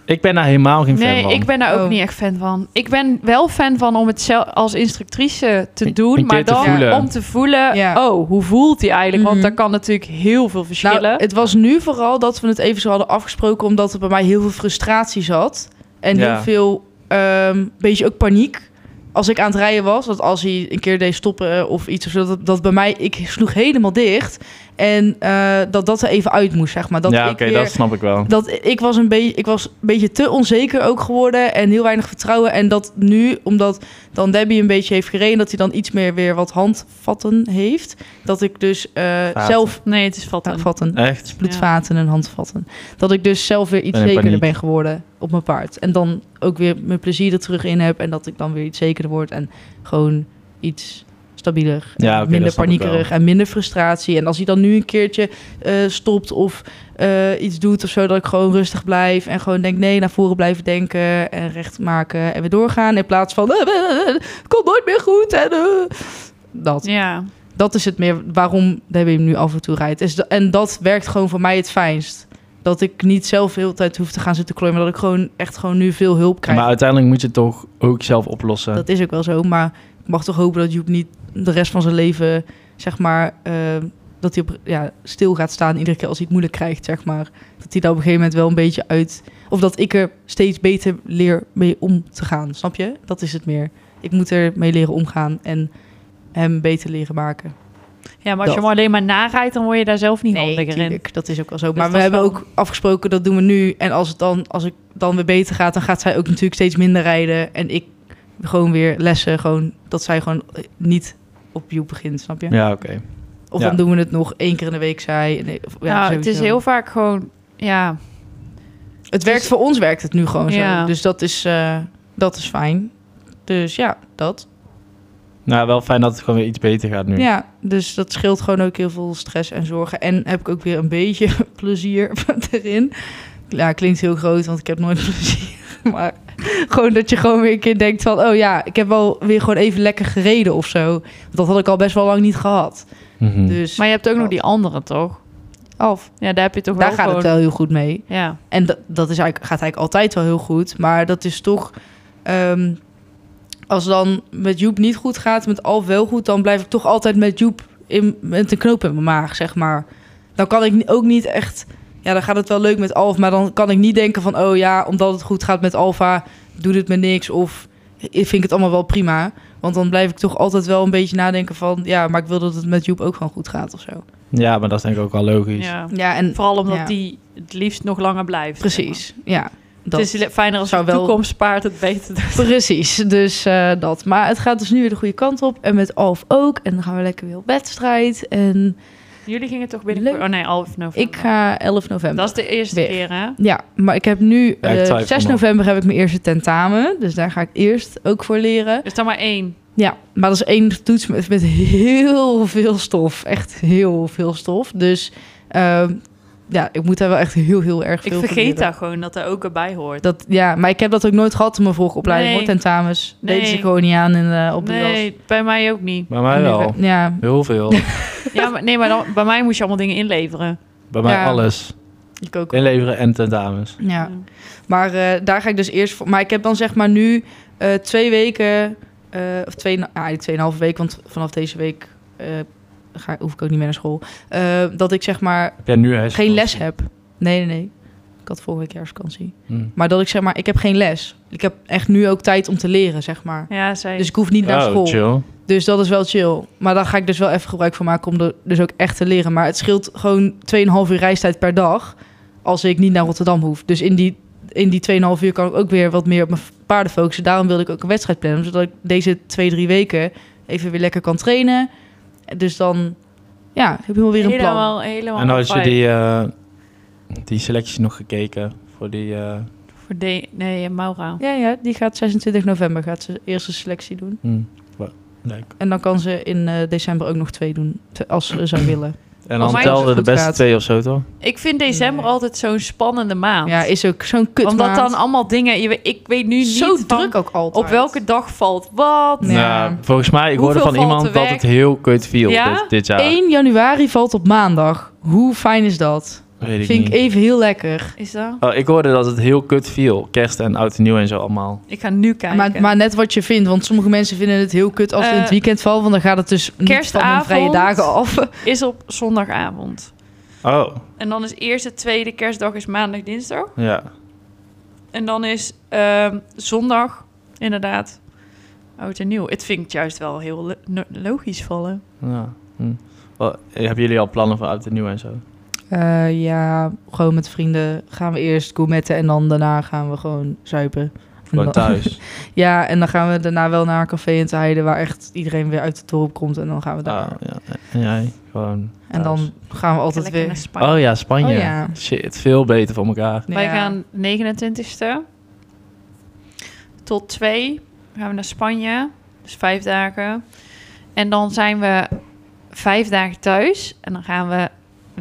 Speaker 1: Ik ben daar helemaal geen fan
Speaker 2: Nee,
Speaker 1: van.
Speaker 2: ik ben daar ook
Speaker 4: Oh.
Speaker 2: niet echt fan van. Ik ben wel fan van om het zelf als instructrice te
Speaker 1: Een-
Speaker 2: doen,
Speaker 1: een keer
Speaker 2: maar
Speaker 1: te
Speaker 2: dan
Speaker 1: voelen.
Speaker 2: om te voelen,
Speaker 4: Ja.
Speaker 2: oh, hoe voelt hij eigenlijk?
Speaker 4: Mhm.
Speaker 2: Want daar kan natuurlijk heel veel verschillen.
Speaker 4: Nou, het was nu vooral dat we het even zo hadden afgesproken, omdat er bij mij heel veel frustratie zat. En
Speaker 1: Ja.
Speaker 4: heel veel, ehm beetje ook paniek. Als ik aan het rijden was, dat als hij een keer deed stoppen eh, of iets of zo, dat, dat bij mij, ik sloeg helemaal dicht. En eh, dat dat er even uit moest, zeg maar. Dat
Speaker 1: ja,
Speaker 4: ik
Speaker 1: oké,
Speaker 4: weer-
Speaker 1: dat snap ik wel.
Speaker 4: dat ik was een beetje ik was een beetje te onzeker ook geworden en heel weinig vertrouwen en dat nu omdat dan Debbie een beetje heeft gereden dat hij dan iets meer weer wat handvatten heeft dat ik dus eh,
Speaker 1: Vaten.
Speaker 4: zelf
Speaker 2: nee, het is vatten.
Speaker 4: nou, vatten
Speaker 1: Echt?
Speaker 4: bloedvaten en handvatten. Dat ik dus zelf weer iets
Speaker 1: Ben in
Speaker 4: zekerder
Speaker 1: paniek.
Speaker 4: ben geworden op mijn paard. En dan ook weer mijn plezier er terug in heb. En dat ik dan weer iets zekerder word. En gewoon iets stabieler.
Speaker 1: Ja,
Speaker 4: en
Speaker 1: oké, dat
Speaker 4: minder
Speaker 1: snap ik
Speaker 4: paniekerig en minder frustratie. En als hij dan nu een keertje eh, stopt of eh, iets doet of zo... dat ik gewoon rustig blijf en gewoon denk... nee, naar voren blijven denken en recht maken en weer doorgaan... in plaats van... eh, eh, eh, het komt nooit meer goed en... eh, dat.
Speaker 2: Ja.
Speaker 4: Dat is het meer waarom Debbie hem nu af en toe rijdt. Is da- en dat werkt gewoon voor mij het fijnst. Dat ik niet zelf de hele tijd hoef te gaan zitten klooien. Maar dat ik gewoon echt gewoon nu veel hulp krijg.
Speaker 1: Maar eh, uiteindelijk moet je het toch ook zelf oplossen.
Speaker 4: Dat is ook wel zo. Maar ik mag toch hopen dat Joep niet de rest van zijn leven, zeg maar... eh, dat hij op, ja, stil gaat staan iedere keer als hij het moeilijk krijgt, zeg maar. Dat hij daar op een gegeven moment wel een beetje uit... Of dat ik er steeds beter leer mee om te gaan, snap je? Dat is het meer. Ik moet er mee leren omgaan en hem beter leren maken.
Speaker 2: ja, maar als je
Speaker 4: Dat.
Speaker 2: hem alleen maar narijdt, dan word je daar zelf niet handiger in.
Speaker 4: tuurlijk, dat is ook wel zo.
Speaker 2: Dus
Speaker 4: maar
Speaker 2: dat
Speaker 4: we
Speaker 2: is
Speaker 4: hebben
Speaker 2: wel-
Speaker 4: ook afgesproken, dat doen we nu. En als het dan, als ik dan weer beter gaat, dan gaat zij ook natuurlijk steeds minder rijden. En ik gewoon weer lessen, gewoon, dat zij gewoon eh, niet op Joep begint, snap je?
Speaker 1: Ja, oké.
Speaker 4: Of
Speaker 1: ja.
Speaker 4: dan doen we het nog één keer in de week, zij. en- of- ja,
Speaker 2: Ja, Nou, het is
Speaker 4: sowieso.
Speaker 2: heel vaak gewoon, ja,
Speaker 4: Het werkt voor ons, werkt het nu gewoon
Speaker 2: Ja.
Speaker 4: zo. Dus dat is, eh, dat is fijn. Dus ja, dat.
Speaker 1: Nou, wel fijn dat het gewoon weer iets beter gaat nu.
Speaker 4: Ja, dus dat scheelt gewoon ook heel veel stress en zorgen. En heb ik ook weer een beetje plezier erin. Ja, klinkt heel groot, want ik heb nooit plezier. Maar gewoon dat je gewoon weer een keer denkt van... oh ja, ik heb wel weer gewoon even lekker gereden of zo. Want dat had ik al best wel lang niet gehad.
Speaker 1: Mhm.
Speaker 4: Dus
Speaker 2: maar je hebt ook nog die andere, toch?
Speaker 4: af.
Speaker 2: Ja, daar heb je toch
Speaker 4: Daar
Speaker 2: wel
Speaker 4: gaat het
Speaker 2: gewoon...
Speaker 4: wel heel goed mee.
Speaker 2: Ja,
Speaker 4: En dat, dat is eigenlijk, gaat eigenlijk altijd wel heel goed. Maar dat is toch... ehm, als dan met Joep niet goed gaat, met Alf wel goed... dan blijf ik toch altijd met Joep in, met een knoop in mijn maag, zeg maar. Dan kan ik ni- ook niet echt... Ja, dan gaat het wel leuk met Alf, maar dan kan ik niet denken van... oh ja, omdat het goed gaat met Alfa, doet het me niks of ik vind ik het allemaal wel prima. Want dan blijf ik toch altijd wel een beetje nadenken van... ja, maar ik wil dat het met Joep ook gewoon goed gaat of zo.
Speaker 1: Ja, maar dat is denk ik ook wel logisch.
Speaker 2: ja.
Speaker 4: Ja, en
Speaker 2: Vooral omdat
Speaker 4: Ja.
Speaker 2: die het liefst nog langer blijft. zeg maar.
Speaker 4: precies, ja. Dat.
Speaker 2: Het is fijner als
Speaker 4: zou
Speaker 2: je
Speaker 4: wel-
Speaker 2: toekomstpaard het beter doet.
Speaker 4: Precies, dus eh, dat. Maar het gaat dus nu weer de goede kant op. En met Alf ook. En dan gaan we lekker weer op wedstrijd. En
Speaker 2: Jullie gingen toch
Speaker 4: Leuk.
Speaker 2: binnenkort... Oh nee, 11 november.
Speaker 4: ik ga 11 november.
Speaker 2: Dat is de eerste
Speaker 4: Weer.
Speaker 2: keer, hè?
Speaker 4: Ja, maar ik heb nu...
Speaker 1: Ja, ik
Speaker 4: eh,
Speaker 1: twijfel
Speaker 4: 6
Speaker 1: nog.
Speaker 4: november heb ik mijn eerste tentamen. Dus daar ga ik eerst ook voor leren.
Speaker 2: Dus dan maar één.
Speaker 4: Ja, maar dat is één toets met, met heel veel stof. Echt heel veel stof. Dus ehm, ja, ik moet daar wel echt heel, heel erg
Speaker 2: Ik
Speaker 4: veel voor
Speaker 2: vergeet
Speaker 4: leren.
Speaker 2: daar gewoon dat er ook erbij hoort.
Speaker 4: Dat, ja, maar ik heb dat ook nooit gehad in mijn vorige opleiding.
Speaker 2: Nee.
Speaker 4: Hoor. Tentamens deden ze
Speaker 2: Nee.
Speaker 4: gewoon niet aan in, eh, op de
Speaker 2: nee, bij mij ook niet.
Speaker 1: Bij mij wel.
Speaker 4: jas. Ja,
Speaker 1: Heel veel.
Speaker 2: Ja, maar, nee, maar dan, bij mij moest je allemaal dingen inleveren.
Speaker 1: Bij mij
Speaker 4: Ja.
Speaker 1: alles.
Speaker 4: ik ook.
Speaker 1: Inleveren en tentamens.
Speaker 4: Ja, maar eh, daar ga ik dus eerst voor. Maar ik heb dan zeg maar nu eh, twee weken, eh, of twee, nou, eigenlijk tweeënhalve week, want vanaf deze week eh, ga, hoef ik ook niet meer naar school. eh, dat ik zeg maar
Speaker 1: Heb jij nu huisvakantie?
Speaker 4: geen les heb. Nee, nee, nee. Ik had vorige week herfstvakantie.
Speaker 1: Hm.
Speaker 4: Maar dat ik zeg maar, ik heb geen les. Ik heb echt nu ook tijd om te leren, zeg maar.
Speaker 2: Ja, zei
Speaker 4: Dus ik hoef niet naar
Speaker 1: oh,
Speaker 4: school.
Speaker 1: chill.
Speaker 4: Dus dat is wel chill. Maar daar ga ik dus wel even gebruik van maken om er dus ook echt te leren. Maar het scheelt gewoon 2,5 uur reistijd per dag als ik niet naar Rotterdam hoef. Dus in die in die 2,5 uur kan ik ook weer wat meer op mijn paarden focussen. Daarom wilde ik ook een wedstrijd plannen, zodat ik deze twee, drie weken even weer lekker kan trainen. Dus dan, ja, ik heb helemaal weer een plan.
Speaker 2: helemaal, helemaal.
Speaker 1: En had je
Speaker 2: fijn.
Speaker 1: die, eh, die selectie nog gekeken voor die... eh,
Speaker 2: Voor de, nee, Maura.
Speaker 4: Ja, ja, die gaat 26 november gaat ze eerste selectie doen.
Speaker 1: hm, wa- leuk.
Speaker 4: En dan kan ze in eh, december ook nog twee doen, te- als ze zou willen.
Speaker 1: En
Speaker 2: Als
Speaker 1: dan
Speaker 2: mij
Speaker 1: telde
Speaker 4: het
Speaker 1: de
Speaker 4: goed
Speaker 1: beste
Speaker 4: gaat.
Speaker 1: twee of zo, toch?
Speaker 2: Ik vind december
Speaker 4: Nee.
Speaker 2: altijd zo'n spannende maand.
Speaker 4: Ja, is ook zo'n kut
Speaker 2: Omdat dan allemaal dingen... Je, weet- ik weet nu
Speaker 4: zo
Speaker 2: niet van
Speaker 4: druk ook altijd.
Speaker 2: op welke dag valt wat.
Speaker 4: Nee. Ja.
Speaker 1: Nou, volgens mij, ik
Speaker 2: Hoeveel
Speaker 1: hoorde van
Speaker 2: valt
Speaker 1: iemand
Speaker 2: er
Speaker 1: dat
Speaker 2: weg?
Speaker 1: het heel kut viel
Speaker 2: Ja?
Speaker 1: dit, dit jaar.
Speaker 4: 1 januari valt op maandag. Hoe fijn is dat?
Speaker 1: Weet ik
Speaker 4: Vind
Speaker 1: niet.
Speaker 4: ik even heel lekker.
Speaker 2: Is dat?
Speaker 1: Oh, ik hoorde dat het heel kut viel. Kerst en oud en nieuw en zo allemaal.
Speaker 2: Ik ga nu kijken.
Speaker 4: Maar, maar net wat je vindt, want sommige mensen vinden het heel kut als het in het
Speaker 2: Eh,
Speaker 4: weekend valt, want dan gaat het dus niet van hun
Speaker 2: kerstavond.
Speaker 4: vrije dagen af.
Speaker 2: Is op zondagavond.
Speaker 1: Oh,
Speaker 2: En dan is eerste, tweede kerstdag is maandag, dinsdag.
Speaker 1: ja.
Speaker 2: En dan is ehm, zondag, inderdaad, oud en nieuw. Het vind ik juist wel heel lo- no- logisch vallen.
Speaker 1: ja. Hm. Wel, hebben jullie al plannen voor oud en nieuw en zo?
Speaker 4: Eh, ja, gewoon met vrienden gaan we eerst gourmetten en dan daarna gaan we gewoon zuipen. En
Speaker 1: Gewoon
Speaker 4: dan-
Speaker 1: thuis.
Speaker 4: Ja, en dan gaan we daarna wel naar een café in te heiden waar echt iedereen weer uit het dorp komt. En dan gaan we daar.
Speaker 1: Ah, ja. En jij? Gewoon
Speaker 4: en dan gaan we altijd
Speaker 2: Lekker naar
Speaker 4: weer.
Speaker 2: Spanje.
Speaker 1: thuis. Oh ja, Spanje.
Speaker 4: Oh ja.
Speaker 1: Shit, veel beter voor elkaar.
Speaker 2: Wij
Speaker 4: Ja.
Speaker 2: gaan 29ste tot 2 gaan we naar Spanje. Dus vijf dagen. En dan zijn we vijf dagen thuis. En dan gaan we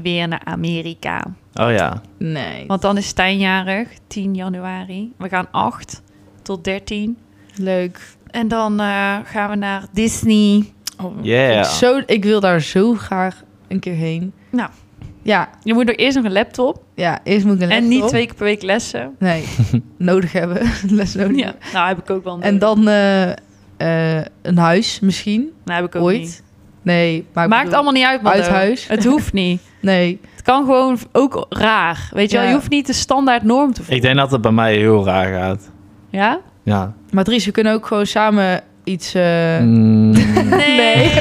Speaker 2: weer naar Amerika.
Speaker 1: Oh ja.
Speaker 4: Nee.
Speaker 2: Want dan is Stijn jarig, 10 januari. We gaan 8 tot 13.
Speaker 4: leuk.
Speaker 2: En dan eh, gaan we naar Disney.
Speaker 1: Yeah.
Speaker 4: Ik, zo, ik wil daar zo graag een keer heen.
Speaker 2: Nou.
Speaker 4: Ja,
Speaker 2: Je moet nog eerst nog een laptop.
Speaker 4: ja eerst moet ik een
Speaker 2: En
Speaker 4: laptop.
Speaker 2: niet twee keer per week lessen.
Speaker 4: Nee, nodig hebben. Les nodig
Speaker 2: Ja,
Speaker 4: hebben.
Speaker 2: nou heb ik ook wel. nodig.
Speaker 4: Oh, En dan eh, eh, een huis misschien.
Speaker 2: nou, heb ik ook
Speaker 4: ooit.
Speaker 2: Niet.
Speaker 4: Nee, maar ik
Speaker 2: Maakt
Speaker 4: bedoel-
Speaker 2: allemaal niet uit, man.
Speaker 4: uit huis.
Speaker 2: Het hoeft niet.
Speaker 4: Nee.
Speaker 2: Het kan gewoon ook raar. Weet je wel,
Speaker 4: Ja.
Speaker 2: je hoeft niet de standaard norm te
Speaker 1: Ik
Speaker 2: volgen.
Speaker 1: denk dat het bij mij heel raar gaat.
Speaker 2: Ja?
Speaker 1: Ja.
Speaker 4: Maar Dries, we kunnen ook gewoon samen iets. eh,
Speaker 1: Mm.
Speaker 2: Nee.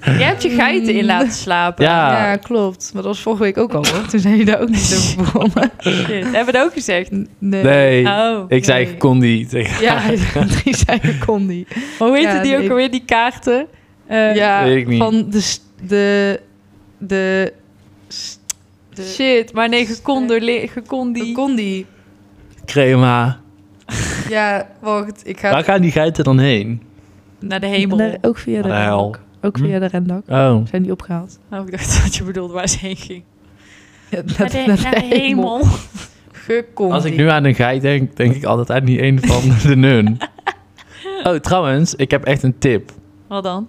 Speaker 2: Jij hebt je geiten in laten slapen.
Speaker 1: ja.
Speaker 4: Ja, klopt. Maar dat was vorige week ook al, hoor. Toen zijn je daar ook niet over begonnen.
Speaker 2: Shit. Hebben we dat ook gezegd?
Speaker 1: Nee.
Speaker 2: Oh.
Speaker 1: Ik zei,
Speaker 4: nee.
Speaker 1: ik kon niet. Ik-
Speaker 4: Ja, Dries zei ik kon niet.
Speaker 2: Maar hoe heette
Speaker 4: Ja,
Speaker 2: die ook
Speaker 4: nee.
Speaker 2: alweer, die kaarten? Eh,
Speaker 4: ja,
Speaker 1: weet ik niet.
Speaker 4: van de... s- de, de, de
Speaker 2: Shit, maar nee, gecondoleerd.
Speaker 4: de
Speaker 2: Gecondi.
Speaker 4: Condi.
Speaker 1: Crema.
Speaker 4: Ja, wacht. Ik ga
Speaker 1: Waar gaan die geiten dan heen?
Speaker 2: Naar de hemel.
Speaker 4: Naar- ook via de,
Speaker 1: Naar de hel.
Speaker 4: rendak. Ook
Speaker 1: Hm?
Speaker 4: via de rendak.
Speaker 1: Oh.
Speaker 4: Zijn die opgehaald?
Speaker 2: Oh, ik dacht dat je bedoelde waar ze heen ging.
Speaker 4: Ja,
Speaker 2: Naar de, naar de hemel.
Speaker 4: Gecondi.
Speaker 1: Als ik nu aan een geit denk, denk ik altijd aan die een van de nun. Oh, trouwens, ik heb echt een tip.
Speaker 2: Wat dan?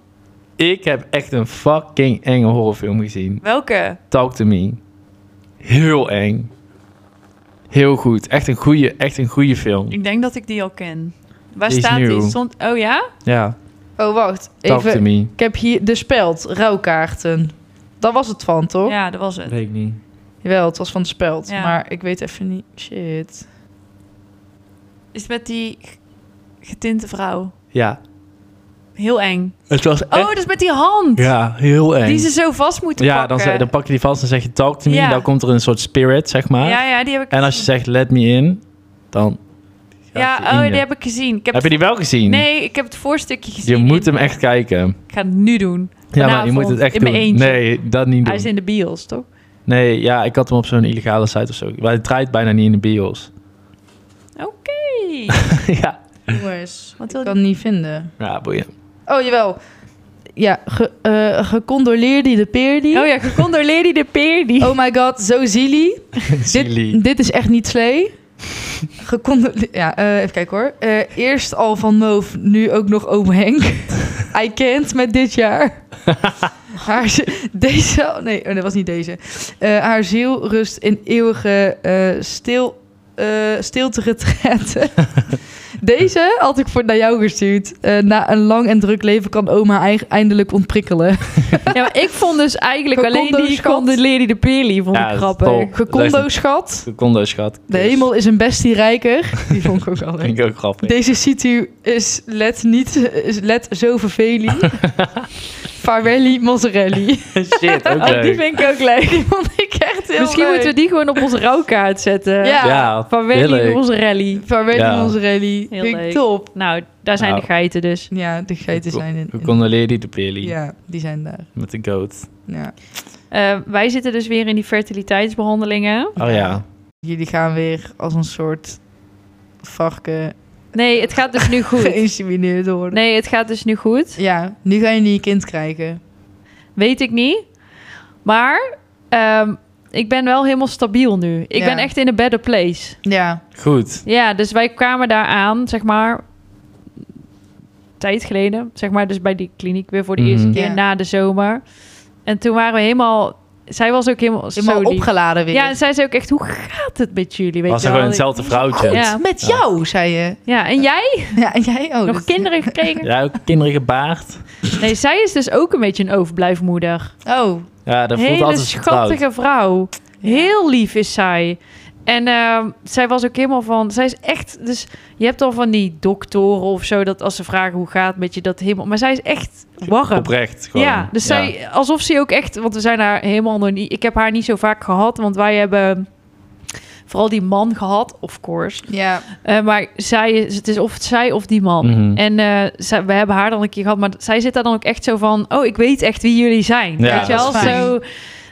Speaker 1: Ik heb echt een fucking enge horrorfilm gezien.
Speaker 2: Welke?
Speaker 1: Talk to me. Heel eng. Heel goed. Echt een goede, echt een goede film.
Speaker 2: Ik denk dat ik die al ken. Waar
Speaker 1: Die is
Speaker 2: staat
Speaker 1: nieuw.
Speaker 2: die? Stond, oh ja?
Speaker 1: Ja,
Speaker 4: Oh, wacht.
Speaker 1: Talk to
Speaker 4: Even.
Speaker 1: me.
Speaker 4: Ik heb hier de speld. Rouwkaarten. Dat was het van, toch?
Speaker 2: Ja, dat was het.
Speaker 1: Weet ik niet.
Speaker 4: Jawel, het was van de speld.
Speaker 2: Ja.
Speaker 4: Maar ik weet even niet... Shit.
Speaker 2: Is het met die g- getinte vrouw.
Speaker 1: Ja,
Speaker 2: Heel eng.
Speaker 1: het was
Speaker 2: Oh,
Speaker 1: echt...
Speaker 2: dat is met die hand.
Speaker 1: Eh? Ja, heel eng.
Speaker 2: Die ze zo vast moeten
Speaker 1: Ja, dan,
Speaker 2: pakken.
Speaker 1: ze- dan pak je die vast en zeg je talk to me.
Speaker 2: Ja.
Speaker 1: Dan komt er een soort spirit, zeg maar.
Speaker 2: Ja, ja, die heb ik
Speaker 1: En als je
Speaker 2: gezien.
Speaker 1: zegt let me in, dan... gaat
Speaker 2: Ja,
Speaker 1: die in
Speaker 2: oh,
Speaker 1: je.
Speaker 2: die heb ik gezien. Ik heb,
Speaker 1: Heb je
Speaker 2: het-
Speaker 1: die wel gezien?
Speaker 2: Nee, ik heb het voorstukje
Speaker 1: Je
Speaker 2: gezien.
Speaker 1: moet hem echt kijken.
Speaker 2: Ik ga het nu doen.
Speaker 1: Ja, maar je
Speaker 2: Vanavond,
Speaker 1: moet het echt
Speaker 2: in
Speaker 1: doen.
Speaker 2: mijn eentje.
Speaker 1: Nee, dat niet doen.
Speaker 2: Hij is in de bios, toch?
Speaker 1: Nee, ja, ik had hem op zo'n illegale site of zo. Maar het draait bijna niet in de bios.
Speaker 2: Oké.
Speaker 1: ja.
Speaker 4: Jongens.
Speaker 2: Wat
Speaker 4: Ik
Speaker 2: wil
Speaker 4: kan het niet vinden.
Speaker 1: Ja, boeien.
Speaker 4: Oh, jawel. Ja, ge, eh, gecondoleerde de peerdi.
Speaker 2: die? Oh ja, gecondoleerd die de peer. Die.
Speaker 4: Oh my god, zo zielig.
Speaker 1: Silly.
Speaker 4: Dit, dit is echt niet slee. Gecondoleerd. Ja, eh, even kijken hoor. Eh, eerst al van Moof, nu ook nog oom Henk. I can't met dit jaar. Haar, zi- deze, nee, oh, dat was niet deze. Eh, haar ziel rust in eeuwige eh, stil, eh stilte retraite. Deze had ik voor naar jou gestuurd. Eh, na een lang en druk leven kan oma eig- eindelijk ontprikkelen.
Speaker 2: Ja, maar ik vond dus eigenlijk alleen die
Speaker 4: Gecondoleerd
Speaker 2: gecondoleerd die de peer. Die vond
Speaker 1: Ja,
Speaker 2: ik
Speaker 1: dat is
Speaker 2: grappig.
Speaker 1: top.
Speaker 4: Gecondo schat.
Speaker 1: Secondo, schat.
Speaker 4: eh, De hemel is een bestie rijker. Die vond ik ook al leuk.
Speaker 1: Vind ik ook grappig.
Speaker 4: Deze situ is let niet, is let zo verveling. Farwelli Mozzarelli.
Speaker 1: Shit, ook
Speaker 2: Oh, die
Speaker 1: leuk.
Speaker 2: vind ik ook leuk.
Speaker 4: Die vond ik echt heel
Speaker 2: Misschien
Speaker 4: leuk.
Speaker 2: moeten we die gewoon op onze rouwkaart zetten.
Speaker 4: Ja.
Speaker 1: Ja,
Speaker 2: Vanwege
Speaker 1: heerlijk.
Speaker 2: onze rally.
Speaker 4: Van Wedding
Speaker 1: Ja.
Speaker 4: onze rally.
Speaker 2: Heel
Speaker 4: Vind ik
Speaker 2: leuk.
Speaker 4: Top.
Speaker 2: Nou, daar zijn
Speaker 1: Nou.
Speaker 2: de geiten dus.
Speaker 4: Ja, de geiten
Speaker 1: Hoe-
Speaker 4: zijn in.
Speaker 1: We
Speaker 4: in-
Speaker 1: condoleren die de Peli
Speaker 4: ja, die zijn daar.
Speaker 1: met de goat.
Speaker 4: Ja.
Speaker 2: Eh, wij zitten dus weer in die fertiliteitsbehandelingen.
Speaker 1: Oh ja.
Speaker 4: Jullie gaan weer als een soort varken
Speaker 2: Nee, het gaat dus nu goed.
Speaker 4: geïnsemineerd worden.
Speaker 2: Nee, het gaat dus nu goed.
Speaker 4: Ja, nu ga je niet je kind krijgen.
Speaker 2: Weet ik niet. Maar ehm, ik ben wel helemaal stabiel nu. Ik
Speaker 4: Ja.
Speaker 2: ben echt in a better place.
Speaker 4: Ja.
Speaker 1: Goed.
Speaker 2: Ja, dus wij kwamen daar aan, zeg maar, tijd geleden. Zeg maar, dus bij die kliniek weer voor de
Speaker 1: Mhm.
Speaker 2: eerste keer
Speaker 4: Ja.
Speaker 2: na de zomer. En toen waren we helemaal... Zij was ook helemaal,
Speaker 4: Helemaal
Speaker 2: zo lief.
Speaker 4: opgeladen weer.
Speaker 2: Ja, en zij zei ook echt, hoe gaat het met jullie? Weet
Speaker 1: Was
Speaker 2: je
Speaker 1: er
Speaker 2: wel?
Speaker 1: gewoon hetzelfde vrouwtje. Ja.
Speaker 2: Ja.
Speaker 4: Met
Speaker 1: Ja.
Speaker 4: jou, zei je.
Speaker 2: ja, en jij?
Speaker 4: Ja, en jij ook.
Speaker 2: Nog kinderen gekregen?
Speaker 1: ook kinderen gebaard.
Speaker 2: Nee, zij is dus ook een beetje een overblijfmoeder.
Speaker 4: Oh,
Speaker 1: Ja, dat voelt
Speaker 2: Hele
Speaker 1: altijd getrouwd.
Speaker 2: schattige vrouw. Heel lief is zij. En ehm, zij was ook helemaal van... Zij is echt... Dus je hebt al van die doktoren of zo... dat als ze vragen hoe gaat het met je dat helemaal... Maar zij is echt warm.
Speaker 1: Oprecht gewoon.
Speaker 2: Ja, dus zij... Alsof ze ook echt... Want we zijn haar helemaal nog niet... Ik heb haar niet zo vaak gehad. Want wij hebben vooral die man gehad. Of course.
Speaker 4: ja.
Speaker 2: Eh, maar zij, is- het is of zij of die man.
Speaker 1: Mhm.
Speaker 2: En eh, zij- we hebben haar dan een keer gehad, maar zij zit daar dan ook echt zo van... Oh, ik weet echt wie jullie zijn.
Speaker 1: Ja,
Speaker 2: weet je
Speaker 1: dat
Speaker 2: wel?
Speaker 1: is
Speaker 4: fijn.
Speaker 2: Zo,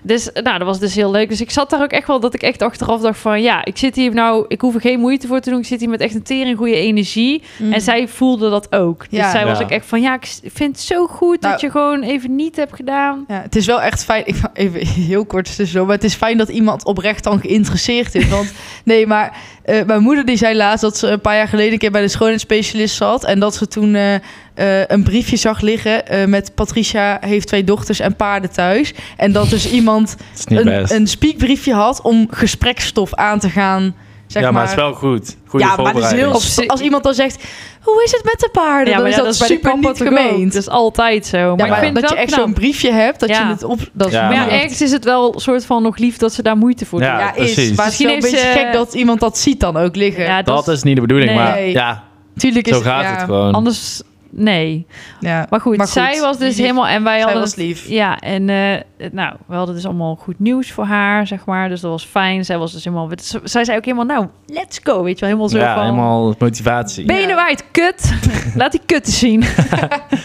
Speaker 2: dus nou, dat was dus heel leuk. Dus ik zat daar ook echt wel dat ik echt achteraf dacht van... Ja, ik zit hier nou... Ik hoef er geen moeite voor te doen. Ik zit hier met echt een tering goede energie.
Speaker 4: Mm.
Speaker 2: En zij voelde dat ook. Dus
Speaker 4: Mhm. Ja.
Speaker 2: zij was
Speaker 1: Ja.
Speaker 2: ook echt van... Ja, ik s- vind het zo goed dat
Speaker 4: Nou.
Speaker 2: je gewoon even niet hebt gedaan.
Speaker 4: Ja, het is wel echt fijn. Ik wou even heel kort tussendoor. Maar het is fijn dat iemand oprecht dan geïnteresseerd is. Want nee, maar eh, mijn moeder die zei laatst dat ze een paar jaar geleden een keer bij de schoonheidsspecialist zat. En dat ze toen eh, eh, een briefje zag liggen eh, met Patricia heeft twee dochters en paarden thuis. En dat dus iemand
Speaker 1: Het is niet best.
Speaker 4: een, een spiekbriefje had om gespreksstof aan te gaan. Zeg
Speaker 1: ja, maar, het is wel goed. Goede
Speaker 4: ja, maar het is
Speaker 1: voorbereiding.
Speaker 4: heel
Speaker 2: Op
Speaker 4: sp-
Speaker 2: zich-
Speaker 4: als iemand dan zegt, hoe is het met de paarden? dan is dat, super niet
Speaker 2: toch ook.
Speaker 4: gemeend.
Speaker 2: Dat is altijd zo. maar,
Speaker 4: Ja,
Speaker 2: ik
Speaker 4: maar
Speaker 2: vind
Speaker 4: dat
Speaker 2: het
Speaker 4: je
Speaker 2: wel
Speaker 4: echt
Speaker 2: knap.
Speaker 4: zo'n briefje hebt, dat
Speaker 2: Ja.
Speaker 4: je het op... Dat is
Speaker 1: Ja,
Speaker 2: Maar ja,
Speaker 1: maar-
Speaker 2: ergens is het wel soort van nog lief dat ze daar moeite voor doen.
Speaker 1: Ja,
Speaker 4: ja, is.
Speaker 1: precies.
Speaker 4: Maar het is wel een
Speaker 2: Misschien
Speaker 4: beetje
Speaker 2: is, eh,
Speaker 4: gek dat iemand dat ziet dan ook liggen.
Speaker 2: Ja,
Speaker 1: dat is niet de bedoeling,
Speaker 2: Nee.
Speaker 1: maar ja,
Speaker 4: Tuurlijk is
Speaker 1: zo gaat
Speaker 4: ja,
Speaker 1: het gewoon.
Speaker 2: Anders, nee.
Speaker 4: Ja.
Speaker 2: Maar goed,
Speaker 4: Maar goed,
Speaker 2: zij was dus
Speaker 4: lief.
Speaker 2: helemaal... En wij
Speaker 4: Zij
Speaker 2: hadden...
Speaker 4: was lief.
Speaker 2: Ja, en eh, het- nou, we hadden dus allemaal goed nieuws voor haar, zeg maar. Dus dat was fijn. Zij was dus helemaal... z- Zij zei ook helemaal, nou, let's go, weet je wel. Helemaal zo
Speaker 1: ja,
Speaker 2: van...
Speaker 1: helemaal motivatie.
Speaker 2: Benen
Speaker 4: Ja.
Speaker 2: wijd, kut. Laat die kutten zien.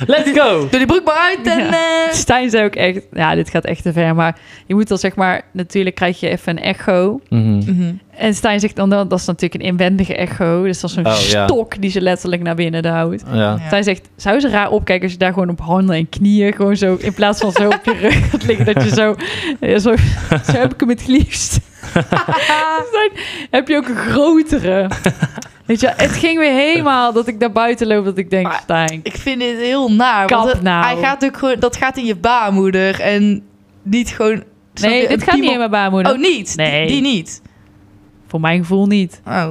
Speaker 1: Let's go!
Speaker 4: Doe die broek maar uit en... eh,
Speaker 2: Stijn zei ook echt... Ja, dit gaat echt te ver. Maar je moet dan zeg maar... Natuurlijk krijg je even een echo.
Speaker 1: Mhm.
Speaker 4: mhm.
Speaker 2: En Stijn zegt dan... "Nou, Dat is natuurlijk een inwendige echo. Dus dat is zo'n
Speaker 1: Oh, ja.
Speaker 2: stok die ze letterlijk naar binnen houdt.
Speaker 1: Ja.
Speaker 4: Ja.
Speaker 2: Zij zegt, zou ze raar opkijken als je daar gewoon op handen en knieën... gewoon zo, in plaats van zo op je rug gaat liggen... dat je zo, eh, zo... Zo heb ik hem het liefst. Dus dan heb je ook een grotere. Weet je, wel, het ging weer helemaal dat ik naar buiten loop... dat ik denk,
Speaker 4: Maar-
Speaker 2: Stijn...
Speaker 4: Ik vind dit heel naar.
Speaker 2: Kap
Speaker 4: want het-
Speaker 2: nou.
Speaker 4: Hij gaat ook gewoon... Dat gaat in je baarmoeder en niet gewoon... snap
Speaker 2: Nee,
Speaker 4: je,
Speaker 2: dit
Speaker 4: een
Speaker 2: gaat niet
Speaker 4: piemel-
Speaker 2: in mijn baarmoeder.
Speaker 4: Oh, niet?
Speaker 2: Nee.
Speaker 4: Die, die niet?
Speaker 2: Voor mijn gevoel niet.
Speaker 4: Oh,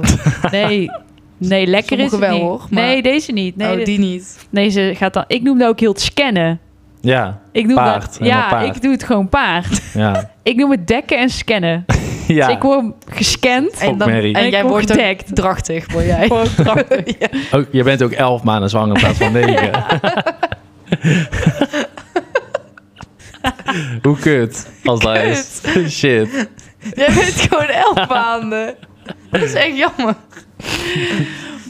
Speaker 2: Nee, nee lekker is
Speaker 4: Sommige
Speaker 2: het
Speaker 4: wel,
Speaker 2: niet.
Speaker 4: hoor, maar-
Speaker 2: Nee, deze niet. Nee,
Speaker 4: oh
Speaker 2: de-
Speaker 4: die niet.
Speaker 2: nee, ze gaat dan... Ik noem dat ook heel het scannen.
Speaker 1: Ja,
Speaker 2: Ik noem
Speaker 1: Paard,
Speaker 2: dat,
Speaker 1: helemaal
Speaker 2: ja,
Speaker 1: paard.
Speaker 2: ik doe het gewoon paard.
Speaker 1: ja.
Speaker 2: Ik noem het dekken en scannen.
Speaker 1: ja.
Speaker 2: Dus ik word gescand...
Speaker 1: Fuck Mary.
Speaker 4: en
Speaker 2: En
Speaker 4: jij
Speaker 2: ik word
Speaker 4: wordt ook
Speaker 2: gedekt.
Speaker 4: drachtig, word jij.
Speaker 2: Gewoon prachtig.
Speaker 1: Ook- je bent ook elf maanden zwanger in plaats van negen. Hoe kut als dat is. Shit.
Speaker 4: Jij bent gewoon elf maanden. Dat is echt jammer.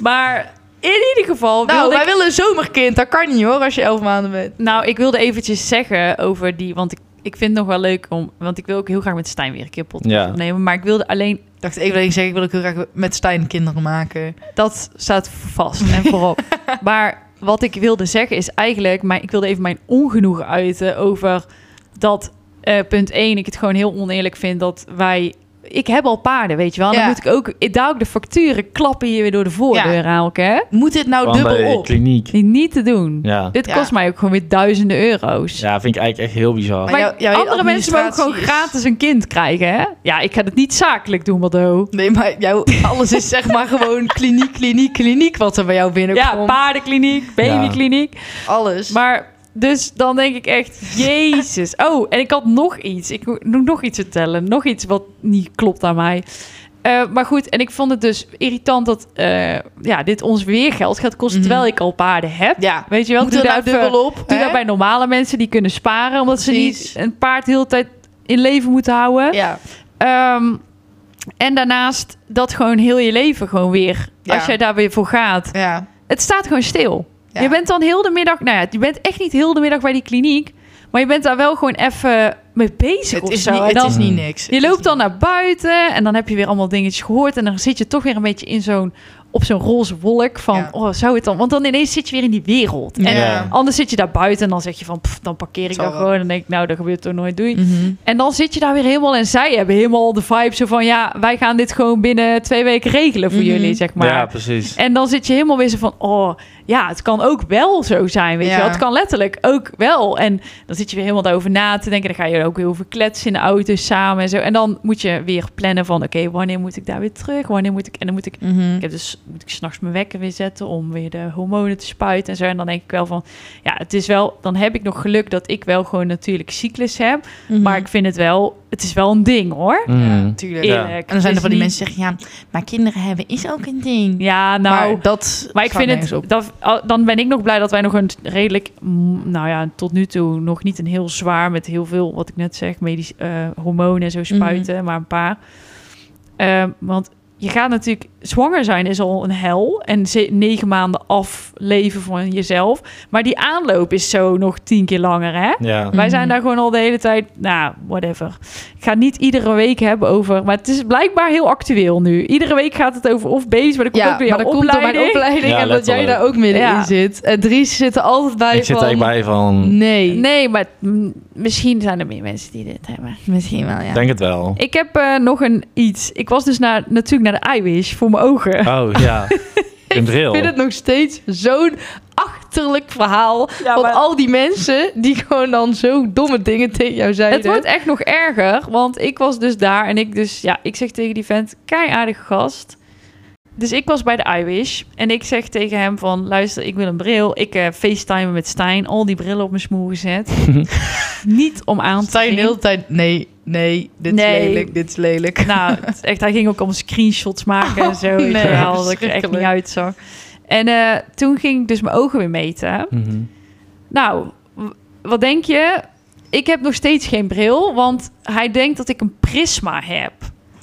Speaker 2: Maar in ieder geval
Speaker 4: Nou,
Speaker 2: wilde
Speaker 4: wij
Speaker 2: ik...
Speaker 4: willen een zomerkind. Dat kan niet hoor, als je elf maanden bent.
Speaker 2: Nou, ik wilde eventjes zeggen over die... Want ik, ik vind het nog wel leuk om... Want ik wil ook heel graag met Stijn weer een keer een podcast
Speaker 4: Nou,
Speaker 1: Ja.
Speaker 2: opnemen. Maar ik wilde alleen...
Speaker 4: Ik dacht even dat ik zeg, ik wil ook heel graag met Stijn kinderen maken.
Speaker 2: Dat staat vast en voorop. maar wat ik wilde zeggen is eigenlijk... Maar ik wilde even mijn ongenoegen uiten over dat... eh, punt 1, ik het gewoon heel oneerlijk vind dat wij... Ik heb al paarden, weet je wel. En
Speaker 4: Ja.
Speaker 2: Dan moet ik ook... ik- Daar ook de facturen klappen hier weer door de voordeur haal ik, hè?
Speaker 4: Moet dit nou
Speaker 1: Van bij
Speaker 4: dubbel
Speaker 1: de
Speaker 4: op?
Speaker 1: kliniek.
Speaker 2: Niet te doen.
Speaker 1: Ja.
Speaker 2: Dit
Speaker 4: Ja.
Speaker 2: kost mij ook gewoon weer duizenden euro's.
Speaker 1: ja, vind ik eigenlijk echt heel bizar.
Speaker 4: Maar
Speaker 2: Maar
Speaker 4: jou- jouw hele
Speaker 2: andere mensen mogen gewoon
Speaker 4: administratie is-
Speaker 2: gratis een kind krijgen, hè? Ja, ik ga het niet zakelijk doen, Mado.
Speaker 4: Nee, maar jouw, alles is zeg maar gewoon kliniek, kliniek, kliniek wat er bij jou
Speaker 2: Ja,
Speaker 4: binnenkomt.
Speaker 2: paardenkliniek, babykliniek.
Speaker 4: alles.
Speaker 2: Maar dus dan denk ik echt, jezus. Oh, en ik had nog iets. Ik moet moet nog iets vertellen. Nog iets wat niet klopt aan mij. Eh, maar goed, en ik vond het dus irritant dat eh, ja, dit ons weer geld gaat kosten...
Speaker 4: Mhm.
Speaker 2: terwijl ik al paarden heb.
Speaker 4: ja,
Speaker 2: Weet je wel,
Speaker 4: moet
Speaker 2: doe
Speaker 4: er
Speaker 2: daar
Speaker 4: nou
Speaker 2: even-
Speaker 4: dubbel op?
Speaker 2: Doe
Speaker 4: hè?
Speaker 2: dat bij normale mensen die kunnen sparen, omdat
Speaker 4: Precies.
Speaker 2: ze niet een paard de hele tijd in leven moeten houden.
Speaker 4: Ja.
Speaker 2: Ehm, en daarnaast dat gewoon heel je leven gewoon weer.
Speaker 4: Ja.
Speaker 2: Als jij daar weer voor gaat.
Speaker 4: Ja.
Speaker 2: Het staat gewoon stil.
Speaker 4: Ja.
Speaker 2: Je bent dan heel de middag... Nou ja, je bent echt niet heel de middag bij die kliniek. Maar je bent daar wel gewoon even mee bezig
Speaker 4: Het,
Speaker 2: of
Speaker 4: is
Speaker 2: zo.
Speaker 4: niet,
Speaker 2: En
Speaker 4: het
Speaker 2: dan-
Speaker 4: is niet niks.
Speaker 2: je loopt dan naar buiten en dan heb je weer allemaal dingetjes gehoord. En dan zit je toch weer een beetje in zo'n, op zo'n roze wolk van,
Speaker 4: Ja.
Speaker 2: oh, zou het dan? Want dan ineens zit je weer in die wereld. En
Speaker 1: Ja.
Speaker 2: anders zit je daar buiten en dan zeg je van, pff, dan parkeer ik
Speaker 4: Zal
Speaker 2: daar
Speaker 4: wel.
Speaker 2: gewoon. En dan denk ik, nou, dat gebeurt toch nooit, doei.
Speaker 4: Mhm.
Speaker 2: En dan zit je daar weer helemaal en zij hebben helemaal de vibe zo van, ja, wij gaan dit gewoon binnen twee weken regelen voor
Speaker 4: Mhm.
Speaker 2: jullie, zeg maar.
Speaker 1: ja, precies.
Speaker 2: En dan zit je helemaal weer zo van, oh, ja, het kan ook wel zo zijn, weet
Speaker 4: Ja.
Speaker 2: je wel. Het kan letterlijk ook wel. En dan zit je weer helemaal daarover na te denken. Dan ga je ook heel veel kletsen in de auto samen en zo. En dan moet je weer plannen van, oké, wanneer moet ik daar weer terug? Wanneer moet ik... En dan moet ik... Ik
Speaker 4: Mhm.
Speaker 2: heb dus moet ik s'nachts mijn wekker weer zetten om weer de hormonen te spuiten en zo. En dan denk ik wel van, ja, het is wel... Dan heb ik nog geluk dat ik wel gewoon natuurlijk cyclus heb. Maar
Speaker 4: Mm.
Speaker 2: ik vind het wel... Het is wel een ding, hoor.
Speaker 1: Mm.
Speaker 4: Tuurlijk.
Speaker 1: Ja.
Speaker 2: Eerlijk.
Speaker 4: En dan zijn er
Speaker 2: Het
Speaker 4: van
Speaker 2: is niet-
Speaker 4: die mensen die zeggen, ja, maar kinderen hebben is ook een ding.
Speaker 2: Ja, nou...
Speaker 4: maar dat
Speaker 2: Maar ik
Speaker 4: slaat
Speaker 2: vind
Speaker 4: nergens op.
Speaker 2: het, dat, al- dan ben ik nog blij dat wij nog een redelijk, mm, nou ja, tot nu toe nog niet een heel zwaar met heel veel, wat ik net zeg, medisch, eh, hormonen en zo spuiten, maar een paar. Ehm, want je gaat natuurlijk, zwanger zijn is al een hel en ze- negen maanden afleven van jezelf. Maar die aanloop is zo nog tien keer langer, hè?
Speaker 1: Ja.
Speaker 2: Wij zijn
Speaker 4: Mhm.
Speaker 2: daar gewoon al de hele tijd, nou, whatever. Ik ga het niet iedere week hebben over, maar het is blijkbaar heel actueel nu. Iedere week gaat het over of baby's, maar dan komt
Speaker 4: Ja,
Speaker 2: ook weer
Speaker 4: maar
Speaker 2: jouw
Speaker 4: dat komt door mijn
Speaker 2: opleiding.
Speaker 4: opleiding
Speaker 1: Ja,
Speaker 4: en dat jij
Speaker 1: letterlijk.
Speaker 4: daar ook middenin
Speaker 2: Ja.
Speaker 4: zit. En Dries zit er altijd bij
Speaker 1: Ik zit
Speaker 4: van...
Speaker 1: er echt bij van,
Speaker 4: Nee.
Speaker 2: Nee, maar mm, misschien zijn er meer mensen die dit hebben.
Speaker 4: Misschien wel, ja.
Speaker 1: denk het wel.
Speaker 2: Ik heb eh, nog een iets. Ik was dus naar, natuurlijk naar de iWish voor mijn ogen.
Speaker 1: Oh, ja. Een drill.
Speaker 4: Ik vind het nog steeds zo'n achterlijk verhaal. van
Speaker 2: maar-
Speaker 4: al die mensen die gewoon dan zo domme dingen tegen jou zeiden.
Speaker 2: Het wordt echt nog erger, want ik was dus daar en ik dus, ja, ik zeg tegen die vent, kei aardige gast. Dus ik was bij de iWish en ik zeg tegen hem van, luister, ik wil een bril. Ik eh facetimen met Stijn, al die brillen op mijn smoel gezet. Niet om aan te
Speaker 4: Stijn de
Speaker 2: zien.
Speaker 4: hele tijd... Nee, nee, dit
Speaker 2: Nee.
Speaker 4: is lelijk, dit is lelijk.
Speaker 2: Nou, het is echt, hij ging ook om screenshots maken en zo.
Speaker 4: Oh, nee,
Speaker 2: weet je wel, dat ik er echt niet
Speaker 4: verschrikkelijk.
Speaker 2: uitzag. En eh, toen ging ik dus mijn ogen weer meten.
Speaker 1: Mhm.
Speaker 2: Nou, w- wat denk je? Ik heb nog steeds geen bril, want hij denkt dat ik een prisma heb.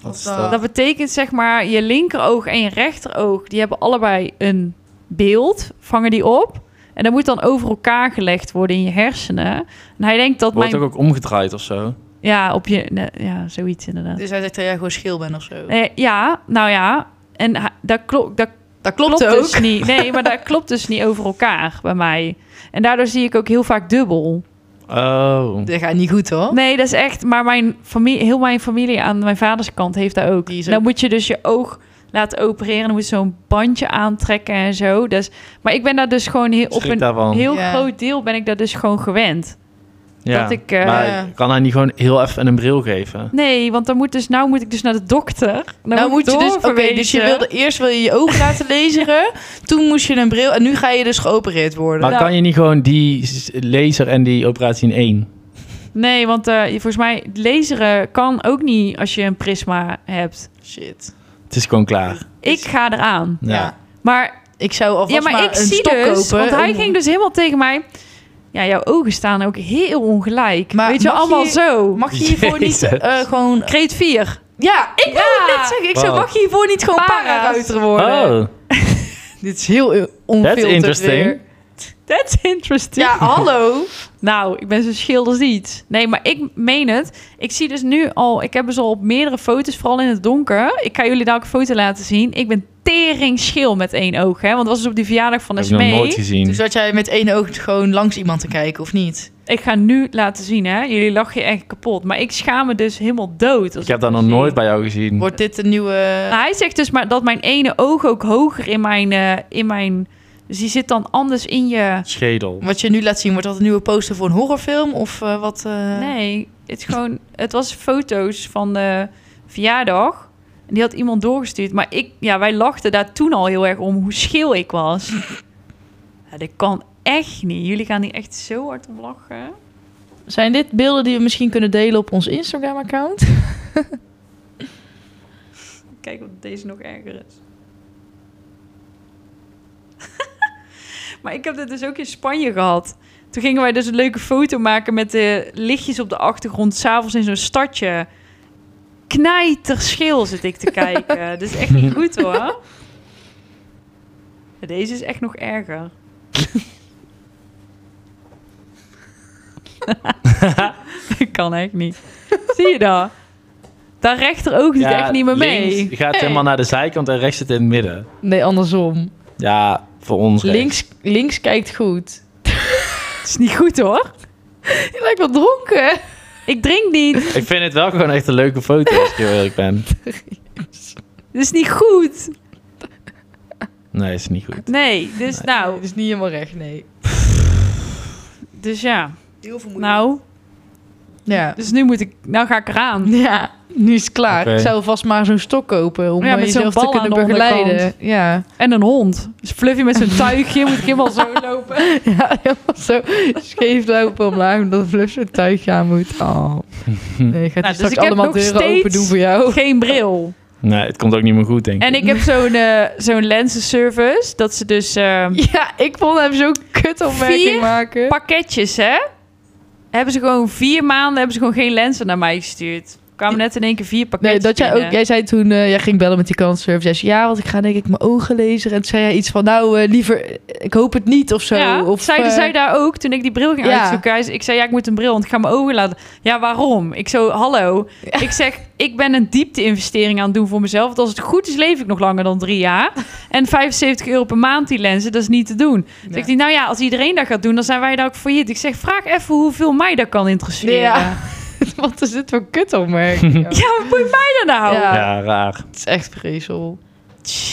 Speaker 1: Wat is
Speaker 4: dat?
Speaker 1: dat?
Speaker 2: Dat betekent zeg maar je linkeroog en je rechteroog, die hebben allebei een beeld, vangen die op. En dat moet dan over elkaar gelegd worden in je hersenen. En hij denkt dat
Speaker 1: Wordt
Speaker 2: mijn...
Speaker 1: ook ook omgedraaid of zo?
Speaker 2: Ja, op je... nee, Ja, zoiets inderdaad.
Speaker 4: Dus hij zegt dat jij gewoon schil bent of zo.
Speaker 2: Eh, ja, nou ja. En hij- dat, klo dat
Speaker 4: Dat
Speaker 2: klopt,
Speaker 4: klopt, ook.
Speaker 2: dus niet. Nee, maar dat klopt dus niet over elkaar bij mij. En daardoor zie ik ook heel vaak dubbel.
Speaker 1: Oh.
Speaker 4: Dat gaat niet goed, hoor.
Speaker 2: Nee, dat is echt. Maar mijn familie, heel mijn familie aan mijn vaders kant heeft dat ook.
Speaker 4: Die is
Speaker 2: Dan moet je dus je oog laten opereren. Dan moet je zo'n bandje aantrekken en zo. Dus, maar ik ben daar dus gewoon heel, op
Speaker 1: Schrik
Speaker 2: een
Speaker 1: daarvan.
Speaker 2: heel
Speaker 4: Ja.
Speaker 2: groot deel ben ik daar dus gewoon gewend.
Speaker 1: ja.
Speaker 2: Dat ik, eh,
Speaker 1: maar kan hij niet gewoon heel even een bril geven?
Speaker 2: Nee, want dan moet dus, nou moet ik dus naar de dokter. Dan
Speaker 4: Nou moet je dus... Oké, dus je
Speaker 2: doorverwezen.
Speaker 4: wilde, eerst wil je je ogen laten lezen. Toen moest je een bril... En nu ga je dus geopereerd worden.
Speaker 1: Maar
Speaker 2: Nou.
Speaker 1: kan je niet gewoon die s- laser en die operatie in één?
Speaker 2: Nee, want eh, volgens mij laseren kan ook niet als je een prisma hebt.
Speaker 4: Shit.
Speaker 1: Het is gewoon klaar.
Speaker 2: Ik
Speaker 4: Dus-
Speaker 2: ga eraan.
Speaker 1: Ja.
Speaker 4: Ja.
Speaker 2: Maar
Speaker 4: Ik zou alvast
Speaker 2: ja, maar, ik
Speaker 4: een
Speaker 2: zie
Speaker 4: stok
Speaker 2: dus,
Speaker 4: kopen.
Speaker 2: want hij
Speaker 4: om-
Speaker 2: ging dus helemaal tegen mij. Ja, jouw ogen staan ook heel ongelijk.
Speaker 4: Maar
Speaker 2: Weet je,
Speaker 4: mag
Speaker 2: allemaal
Speaker 4: je-
Speaker 2: zo.
Speaker 4: Mag je hiervoor niet
Speaker 1: Jezus.
Speaker 4: eh, gewoon...
Speaker 2: Kreet 4.
Speaker 4: Ja, ik wil
Speaker 2: Ja.
Speaker 4: het net zeggen. Ik zou,
Speaker 1: Wow.
Speaker 4: mag je hiervoor niet gewoon
Speaker 2: Para's.
Speaker 4: para-ruiter worden?
Speaker 1: Oh,
Speaker 4: Dit is heel eh, onfilterd
Speaker 1: that's interesting.
Speaker 4: weer.
Speaker 2: That's interesting.
Speaker 4: Ja, hallo.
Speaker 2: Nou, ik ben zo schil als iets. Nee, maar ik meen het. Ik zie dus nu al... Ik heb dus al op meerdere foto's, vooral in het donker... Ik ga jullie daar ook een foto laten zien. Ik ben tering schil met één oog, hè. Want dat was dus op die verjaardag van
Speaker 1: heb ik nog nooit
Speaker 2: Esmee.
Speaker 1: gezien.
Speaker 4: Toen zat Dus jij met één oog gewoon langs iemand te kijken, of niet?
Speaker 2: Ik ga nu laten zien, hè. Jullie lachen je echt kapot. Maar ik schaam me dus helemaal dood. als
Speaker 1: ik heb dat nog
Speaker 2: zie.
Speaker 1: nooit bij jou gezien.
Speaker 4: Wordt dit een nieuwe...
Speaker 2: Nou, hij zegt dus maar dat mijn ene oog ook hoger in mijn, eh, in mijn... Dus die zit dan anders in je...
Speaker 1: Schedel.
Speaker 4: Wat je nu laat zien, wordt dat een nieuwe poster voor een horrorfilm? Of eh, wat... eh,
Speaker 2: Nee, het, is gewoon, het was foto's van de verjaardag. En die had iemand doorgestuurd. Maar ik, ja, wij lachten daar toen al heel erg om hoe scheel ik was. ja, dat kan echt niet. Jullie gaan hier echt zo hard om lachen.
Speaker 4: Zijn dit beelden die we misschien kunnen delen op ons Instagram-account?
Speaker 2: Kijk of deze nog erger is. maar ik heb dit dus ook in Spanje gehad. Toen gingen wij dus een leuke foto maken met de lichtjes op de achtergrond. S'avonds in zo'n stadje. Knijterschil zit ik te kijken. Dat is echt niet goed hoor. Deze is echt nog erger. Ik kan echt niet. Zie je dat? Daar rechter ook niet
Speaker 1: Ja,
Speaker 2: echt niet meer mee.
Speaker 1: Links gaat helemaal naar de zijkant en rechts zit in het midden.
Speaker 4: Nee, andersom.
Speaker 1: Ja, voor ons rechts.
Speaker 4: Links, links kijkt goed.
Speaker 2: Dat is niet goed hoor.
Speaker 4: Je lijkt wel dronken.
Speaker 2: Ik drink niet.
Speaker 1: Ik vind het wel gewoon echt een leuke foto als ik heel eerlijk ben.
Speaker 2: Dit is niet goed.
Speaker 1: Nee, is niet goed.
Speaker 2: Nee, dus nou.
Speaker 4: Dat is niet helemaal recht, nee.
Speaker 2: Dus ja.
Speaker 3: Heel veel
Speaker 2: Nou,
Speaker 4: Ja.
Speaker 2: dus nu moet ik. Nou ga ik eraan.
Speaker 4: Ja, nu is het klaar.
Speaker 1: Oké.
Speaker 4: Ik zou vast maar zo'n stok kopen om
Speaker 2: Ja,
Speaker 4: eh,
Speaker 2: met zo'n
Speaker 4: jezelf
Speaker 2: bal
Speaker 4: te
Speaker 2: aan
Speaker 4: kunnen
Speaker 2: de
Speaker 4: begeleiden.
Speaker 2: onderkant.
Speaker 4: Ja.
Speaker 2: En een hond. Dus Fluffy met zijn tuigje moet ik helemaal zo lopen.
Speaker 4: ja, helemaal zo Dus scheef lopen omlaag omdat de Fluff zo'n tuigje aan moet. Oh. Nee, ik ga
Speaker 2: dus
Speaker 4: die
Speaker 2: ik
Speaker 4: straks
Speaker 2: heb
Speaker 4: allemaal
Speaker 2: nog
Speaker 4: deuren
Speaker 2: steeds-
Speaker 4: open doen voor jou.
Speaker 2: Geen bril.
Speaker 1: Nee, het komt ook niet meer goed, denk ik.
Speaker 2: En ik heb zo'n eh, zo'n lensenservice. Dat ze dus eh,
Speaker 4: Ja, ik vond hem zo'n kut
Speaker 2: Vier
Speaker 4: opmerking maken.
Speaker 2: pakketjes, hè? Hebben ze gewoon vier maanden hebben ze gewoon geen lenzen naar mij gestuurd. kwamen net in één keer vier
Speaker 4: Nee,
Speaker 2: pakketjes.
Speaker 4: dat jij ook.
Speaker 2: binnen.
Speaker 4: Jij zei toen, eh, jij ging bellen met die klantenservice. Jij zei ja, want ik ga denk ik mijn ogen lezen. En toen zei jij iets van, nou eh, liever, eh, ik hoop het niet of zo.
Speaker 2: ja,
Speaker 4: of,
Speaker 2: zeiden
Speaker 4: eh,
Speaker 2: zij daar ook toen ik die bril ging
Speaker 4: Ja.
Speaker 2: uitzoeken. Hij zei- Ik zei, ja, ik moet een bril, want ik ga mijn ogen laten. Ja, waarom? Ik zo, hallo. Ik zeg, ik ben een diepte-investering aan het doen voor mezelf. Want als het goed is, leef ik nog langer dan drie jaar. En 75 euro per maand die lenzen, dat is niet te doen. Dus ik dacht, nou ja, als iedereen dat gaat doen, dan zijn wij daar ook failliet. Ik zeg, vraag even hoeveel mij dat kan interesseren.
Speaker 4: Ja. Wat is dit voor kut opmerking?
Speaker 2: Ja, wat boeit mij dat nou?
Speaker 4: Ja.
Speaker 1: Ja, raar.
Speaker 4: Het is echt vreselijk.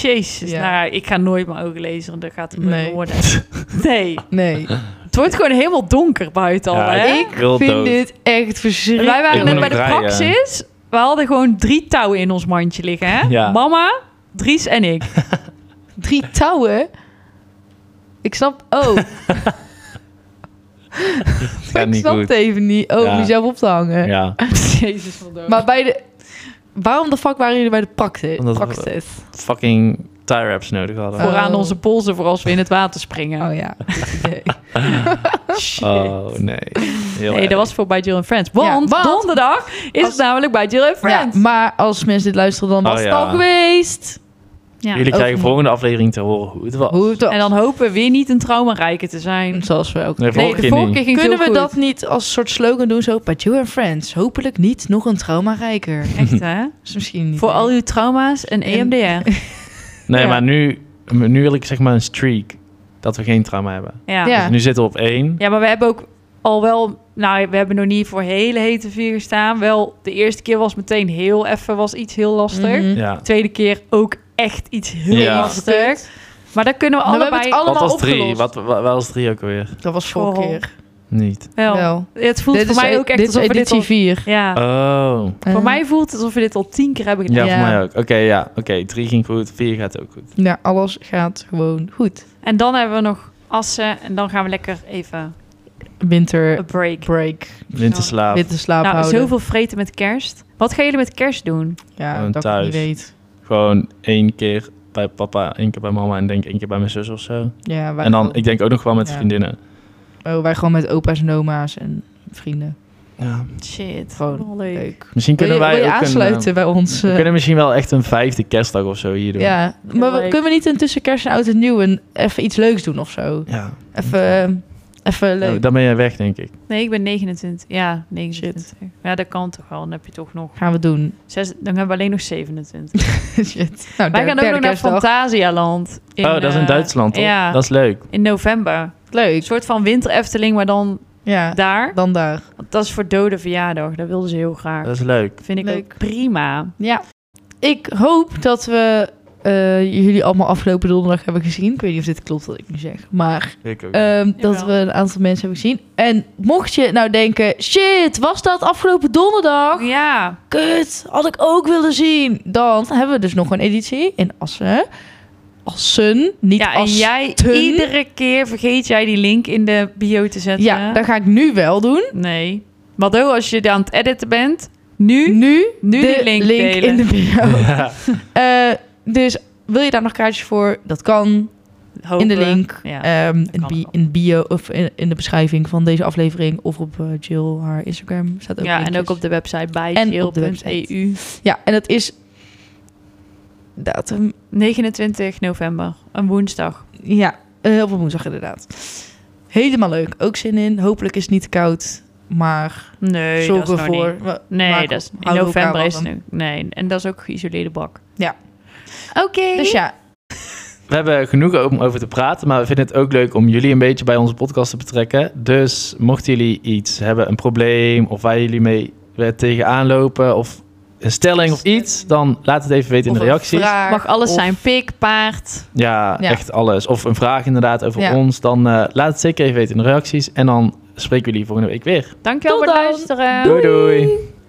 Speaker 2: Jezus,
Speaker 4: Ja.
Speaker 2: nou, ik ga nooit mijn ogen lezen. Dat gaat het nooit
Speaker 4: Nee.
Speaker 2: worden. Nee,
Speaker 4: Nee.
Speaker 2: het wordt gewoon helemaal donker buiten al,
Speaker 1: Ja,
Speaker 2: hè?
Speaker 1: ik wil
Speaker 4: vind
Speaker 1: dood.
Speaker 4: dit echt
Speaker 2: En
Speaker 4: verschrikkelijk.
Speaker 2: Dus wij waren
Speaker 1: Ik
Speaker 2: net
Speaker 1: moet
Speaker 2: bij de
Speaker 1: nog draaien.
Speaker 2: praxis. We hadden gewoon drie touwen in ons mandje liggen. Hè?
Speaker 1: Ja.
Speaker 2: Mama, Dries en ik.
Speaker 4: Drie touwen? Ik snap... Oh,
Speaker 1: Gaat
Speaker 4: ik
Speaker 1: niet
Speaker 4: snap het
Speaker 1: goed.
Speaker 4: even niet. Oh,
Speaker 1: Ja.
Speaker 4: om jezelf op te hangen.
Speaker 1: Ja,
Speaker 2: Jezus van dood.
Speaker 4: Maar bij de... Waarom de fuck waren jullie bij de praktis?
Speaker 1: Omdat we-
Speaker 4: praktis?
Speaker 1: fucking tie wraps nodig hadden.
Speaker 4: Oh.
Speaker 2: Vooraan onze polsen voor als we in het water springen.
Speaker 4: Oh ja. goed idee.
Speaker 2: Shit.
Speaker 1: Oh, nee. Heel
Speaker 2: nee,
Speaker 1: erg.
Speaker 2: dat was voor bij Jill and Friends. Want,
Speaker 4: want-
Speaker 2: donderdag is
Speaker 4: Als-
Speaker 2: het namelijk bij Jill and
Speaker 4: ja,
Speaker 2: Friends.
Speaker 4: maar als mensen dit luisteren, dan was
Speaker 1: Oh,
Speaker 4: het
Speaker 1: ja.
Speaker 4: al geweest.
Speaker 2: Ja.
Speaker 1: Jullie krijgen
Speaker 4: Over-
Speaker 1: volgende aflevering te horen hoe het was.
Speaker 4: Hoe het
Speaker 2: En dan hopen we weer niet een traumarijke te zijn.
Speaker 4: Zoals we ook.
Speaker 1: Nee, vorige
Speaker 2: de
Speaker 1: keer
Speaker 2: vorige
Speaker 1: niet.
Speaker 2: keer ging het
Speaker 4: Kunnen we
Speaker 2: heel goed.
Speaker 4: dat niet als soort slogan doen? Zo, but you and friends. Hopelijk niet nog een trauma rijker.
Speaker 2: Echt, hè?
Speaker 4: Is misschien niet.
Speaker 2: voor al uw trauma's en E
Speaker 4: En-
Speaker 2: EMDR.
Speaker 1: Nee,
Speaker 4: Ja.
Speaker 1: maar nu, nu wil ik zeg maar een streak. Dat we geen trauma hebben.
Speaker 2: Ja.
Speaker 4: Ja.
Speaker 1: Dus nu zitten we op één.
Speaker 2: Ja, maar we hebben ook al wel... Nou, we hebben nog niet voor hele hete vuur gestaan. Wel, de eerste keer was meteen heel even, was iets heel lastig.
Speaker 4: Mhm.
Speaker 1: Ja.
Speaker 2: De tweede keer ook echt iets heel
Speaker 1: Ja.
Speaker 2: lastig. Maar dat kunnen we
Speaker 4: Maar Nou, we
Speaker 2: allebei
Speaker 4: hebben het
Speaker 1: Wat
Speaker 4: allemaal
Speaker 1: was drie?
Speaker 4: opgelost.
Speaker 1: Wat, wa- wat was drie ook alweer?
Speaker 4: Dat was vorige
Speaker 2: School.
Speaker 4: keer.
Speaker 1: Niet.
Speaker 2: wel.
Speaker 4: Wel.
Speaker 2: Het voelt
Speaker 4: Dit
Speaker 2: voor
Speaker 4: is
Speaker 2: mij
Speaker 4: e-
Speaker 2: ook echt
Speaker 4: dit is
Speaker 2: alsof we dit
Speaker 4: editie Eh,
Speaker 2: al...
Speaker 4: 4.
Speaker 2: Ja,
Speaker 1: Oh.
Speaker 2: voor mij voelt het alsof we dit al tien keer
Speaker 1: Ja,
Speaker 2: hebben gedaan.
Speaker 1: voor
Speaker 4: Ja.
Speaker 1: mij ook. Oké, ja. Oké, drie ging goed. Vier gaat ook goed.
Speaker 4: Ja, alles gaat gewoon goed.
Speaker 2: En dan hebben we nog assen en dan gaan we lekker even
Speaker 4: Winter
Speaker 2: een break.
Speaker 4: break.
Speaker 1: Winterslaap.
Speaker 4: Winterslaap
Speaker 2: Nou,
Speaker 4: Eh, houden.
Speaker 2: zoveel vreten met kerst. Wat gaan jullie met kerst doen?
Speaker 4: Ja,
Speaker 1: Gewoon
Speaker 4: dat ik
Speaker 1: thuis.
Speaker 4: niet weet.
Speaker 1: Gewoon één keer bij papa, één keer bij mama en denk één keer bij mijn zus of zo.
Speaker 4: Ja, wij
Speaker 1: En dan, ik denk ook nog wel met
Speaker 4: Ja.
Speaker 1: vriendinnen.
Speaker 4: oh, wij gewoon met opa's en oma's en vrienden.
Speaker 1: Ja.
Speaker 2: Shit,
Speaker 4: Gewoon
Speaker 2: wel leuk.
Speaker 4: Leuk.
Speaker 1: Misschien
Speaker 4: Wil
Speaker 1: kunnen
Speaker 4: je,
Speaker 1: wij
Speaker 4: wil je
Speaker 1: ook een,
Speaker 4: aansluiten bij ons?
Speaker 1: eh, we
Speaker 4: eh,
Speaker 1: kunnen misschien wel echt een vijfde kerstdag of zo hier doen.
Speaker 4: ja, maar we-
Speaker 2: leuk.
Speaker 4: kunnen we niet een tussen kerst en oud en nieuw een, even iets leuks doen of zo?
Speaker 1: Ja.
Speaker 4: Even, eh,
Speaker 1: Nou,
Speaker 4: even leuk.
Speaker 1: dan ben jij weg, denk ik.
Speaker 2: Nee, ik ben 29. Ja, 29. Ja, dat kan toch wel. Dan heb je toch nog...
Speaker 4: Gaan we doen.
Speaker 2: Zes, dan hebben we alleen nog 27.
Speaker 4: Shit. Nou,
Speaker 2: Wij
Speaker 4: derde-
Speaker 2: gaan ook nog
Speaker 4: derde
Speaker 2: naar
Speaker 4: kerstdag.
Speaker 2: Fantasialand. in,
Speaker 1: oh, dat is in
Speaker 2: eh,
Speaker 1: Duitsland, toch?
Speaker 2: Ja,
Speaker 1: Dat is leuk.
Speaker 2: in november. Een
Speaker 4: Leuk.
Speaker 2: soort van winterefteling, maar dan
Speaker 4: Ja,
Speaker 2: daar.
Speaker 4: dan daar.
Speaker 2: Want dat is voor dode verjaardag. Dat wilden ze heel graag.
Speaker 1: Dat is leuk.
Speaker 2: vind ik
Speaker 4: Leuk.
Speaker 2: ook prima.
Speaker 4: Ja. Ik hoop dat we eh, jullie allemaal afgelopen donderdag hebben gezien. Ik weet niet of dit klopt wat ik nu zeg. Maar
Speaker 1: Ik ook.
Speaker 4: Ehm, dat
Speaker 2: Jawel.
Speaker 4: we een aantal mensen hebben gezien. En mocht je nou denken, shit, was dat afgelopen donderdag?
Speaker 2: Ja,
Speaker 4: Kut, had ik ook willen zien. Dan hebben we dus nog een editie in Assen. Assen, niet
Speaker 2: ja en
Speaker 4: Assen.
Speaker 2: jij...
Speaker 4: Asten.
Speaker 2: Iedere keer vergeet jij die link in de bio te zetten.
Speaker 4: Ja, dat ga ik nu wel doen.
Speaker 2: Nee. Mado, als je aan het editen bent... Nu...
Speaker 4: Nu,
Speaker 2: Nu
Speaker 4: de
Speaker 2: die link delen.
Speaker 4: in de bio.
Speaker 1: Ja.
Speaker 4: Eh, dus wil je daar nog kaartjes voor? Dat kan.
Speaker 2: hopen.
Speaker 4: in de link,
Speaker 2: Ja.
Speaker 4: ehm, in,
Speaker 2: kan
Speaker 4: bi-
Speaker 2: wel.
Speaker 4: in bio of in, in de beschrijving van deze aflevering of op eh, Jill haar Instagram staat ook
Speaker 2: ja, en
Speaker 4: linkjes.
Speaker 2: ook op de website bij E
Speaker 4: En op de
Speaker 2: chill.eu.
Speaker 4: ja en dat is datum
Speaker 2: 29 november, een woensdag.
Speaker 4: ja eh, op een woensdag inderdaad helemaal leuk ook zin in hopelijk is het niet te koud maar
Speaker 2: Nee,
Speaker 4: zorg
Speaker 2: dat is nog
Speaker 4: ervoor
Speaker 2: niet.
Speaker 4: wa- maak
Speaker 2: Nee,
Speaker 4: op-
Speaker 2: dat is, in
Speaker 4: houden we elkaar
Speaker 2: november is het
Speaker 4: warm.
Speaker 2: nu. Nee, en dat is ook geïsoleerde bak.
Speaker 4: Ja.
Speaker 2: Oké.
Speaker 4: dus ja
Speaker 1: We hebben genoeg om over te praten, maar we vinden het ook leuk om jullie een beetje bij onze podcast te betrekken. Dus mochten jullie iets hebben, een probleem of waar jullie mee weer tegenaan lopen of een stelling of iets, dan laat het even weten in
Speaker 4: of
Speaker 1: de
Speaker 4: een
Speaker 1: reacties.
Speaker 4: vraag
Speaker 2: Mag alles
Speaker 4: of-
Speaker 2: zijn, pik, paard.
Speaker 1: Ja,
Speaker 4: Ja.
Speaker 1: echt alles. Of een vraag inderdaad over
Speaker 4: Ja.
Speaker 1: ons, dan eh, laat het zeker even weten in de reacties. En dan spreken we jullie volgende week weer.
Speaker 2: Dankjewel
Speaker 4: Tot
Speaker 2: voor het
Speaker 4: dan.
Speaker 2: luisteren.
Speaker 1: doei. doei.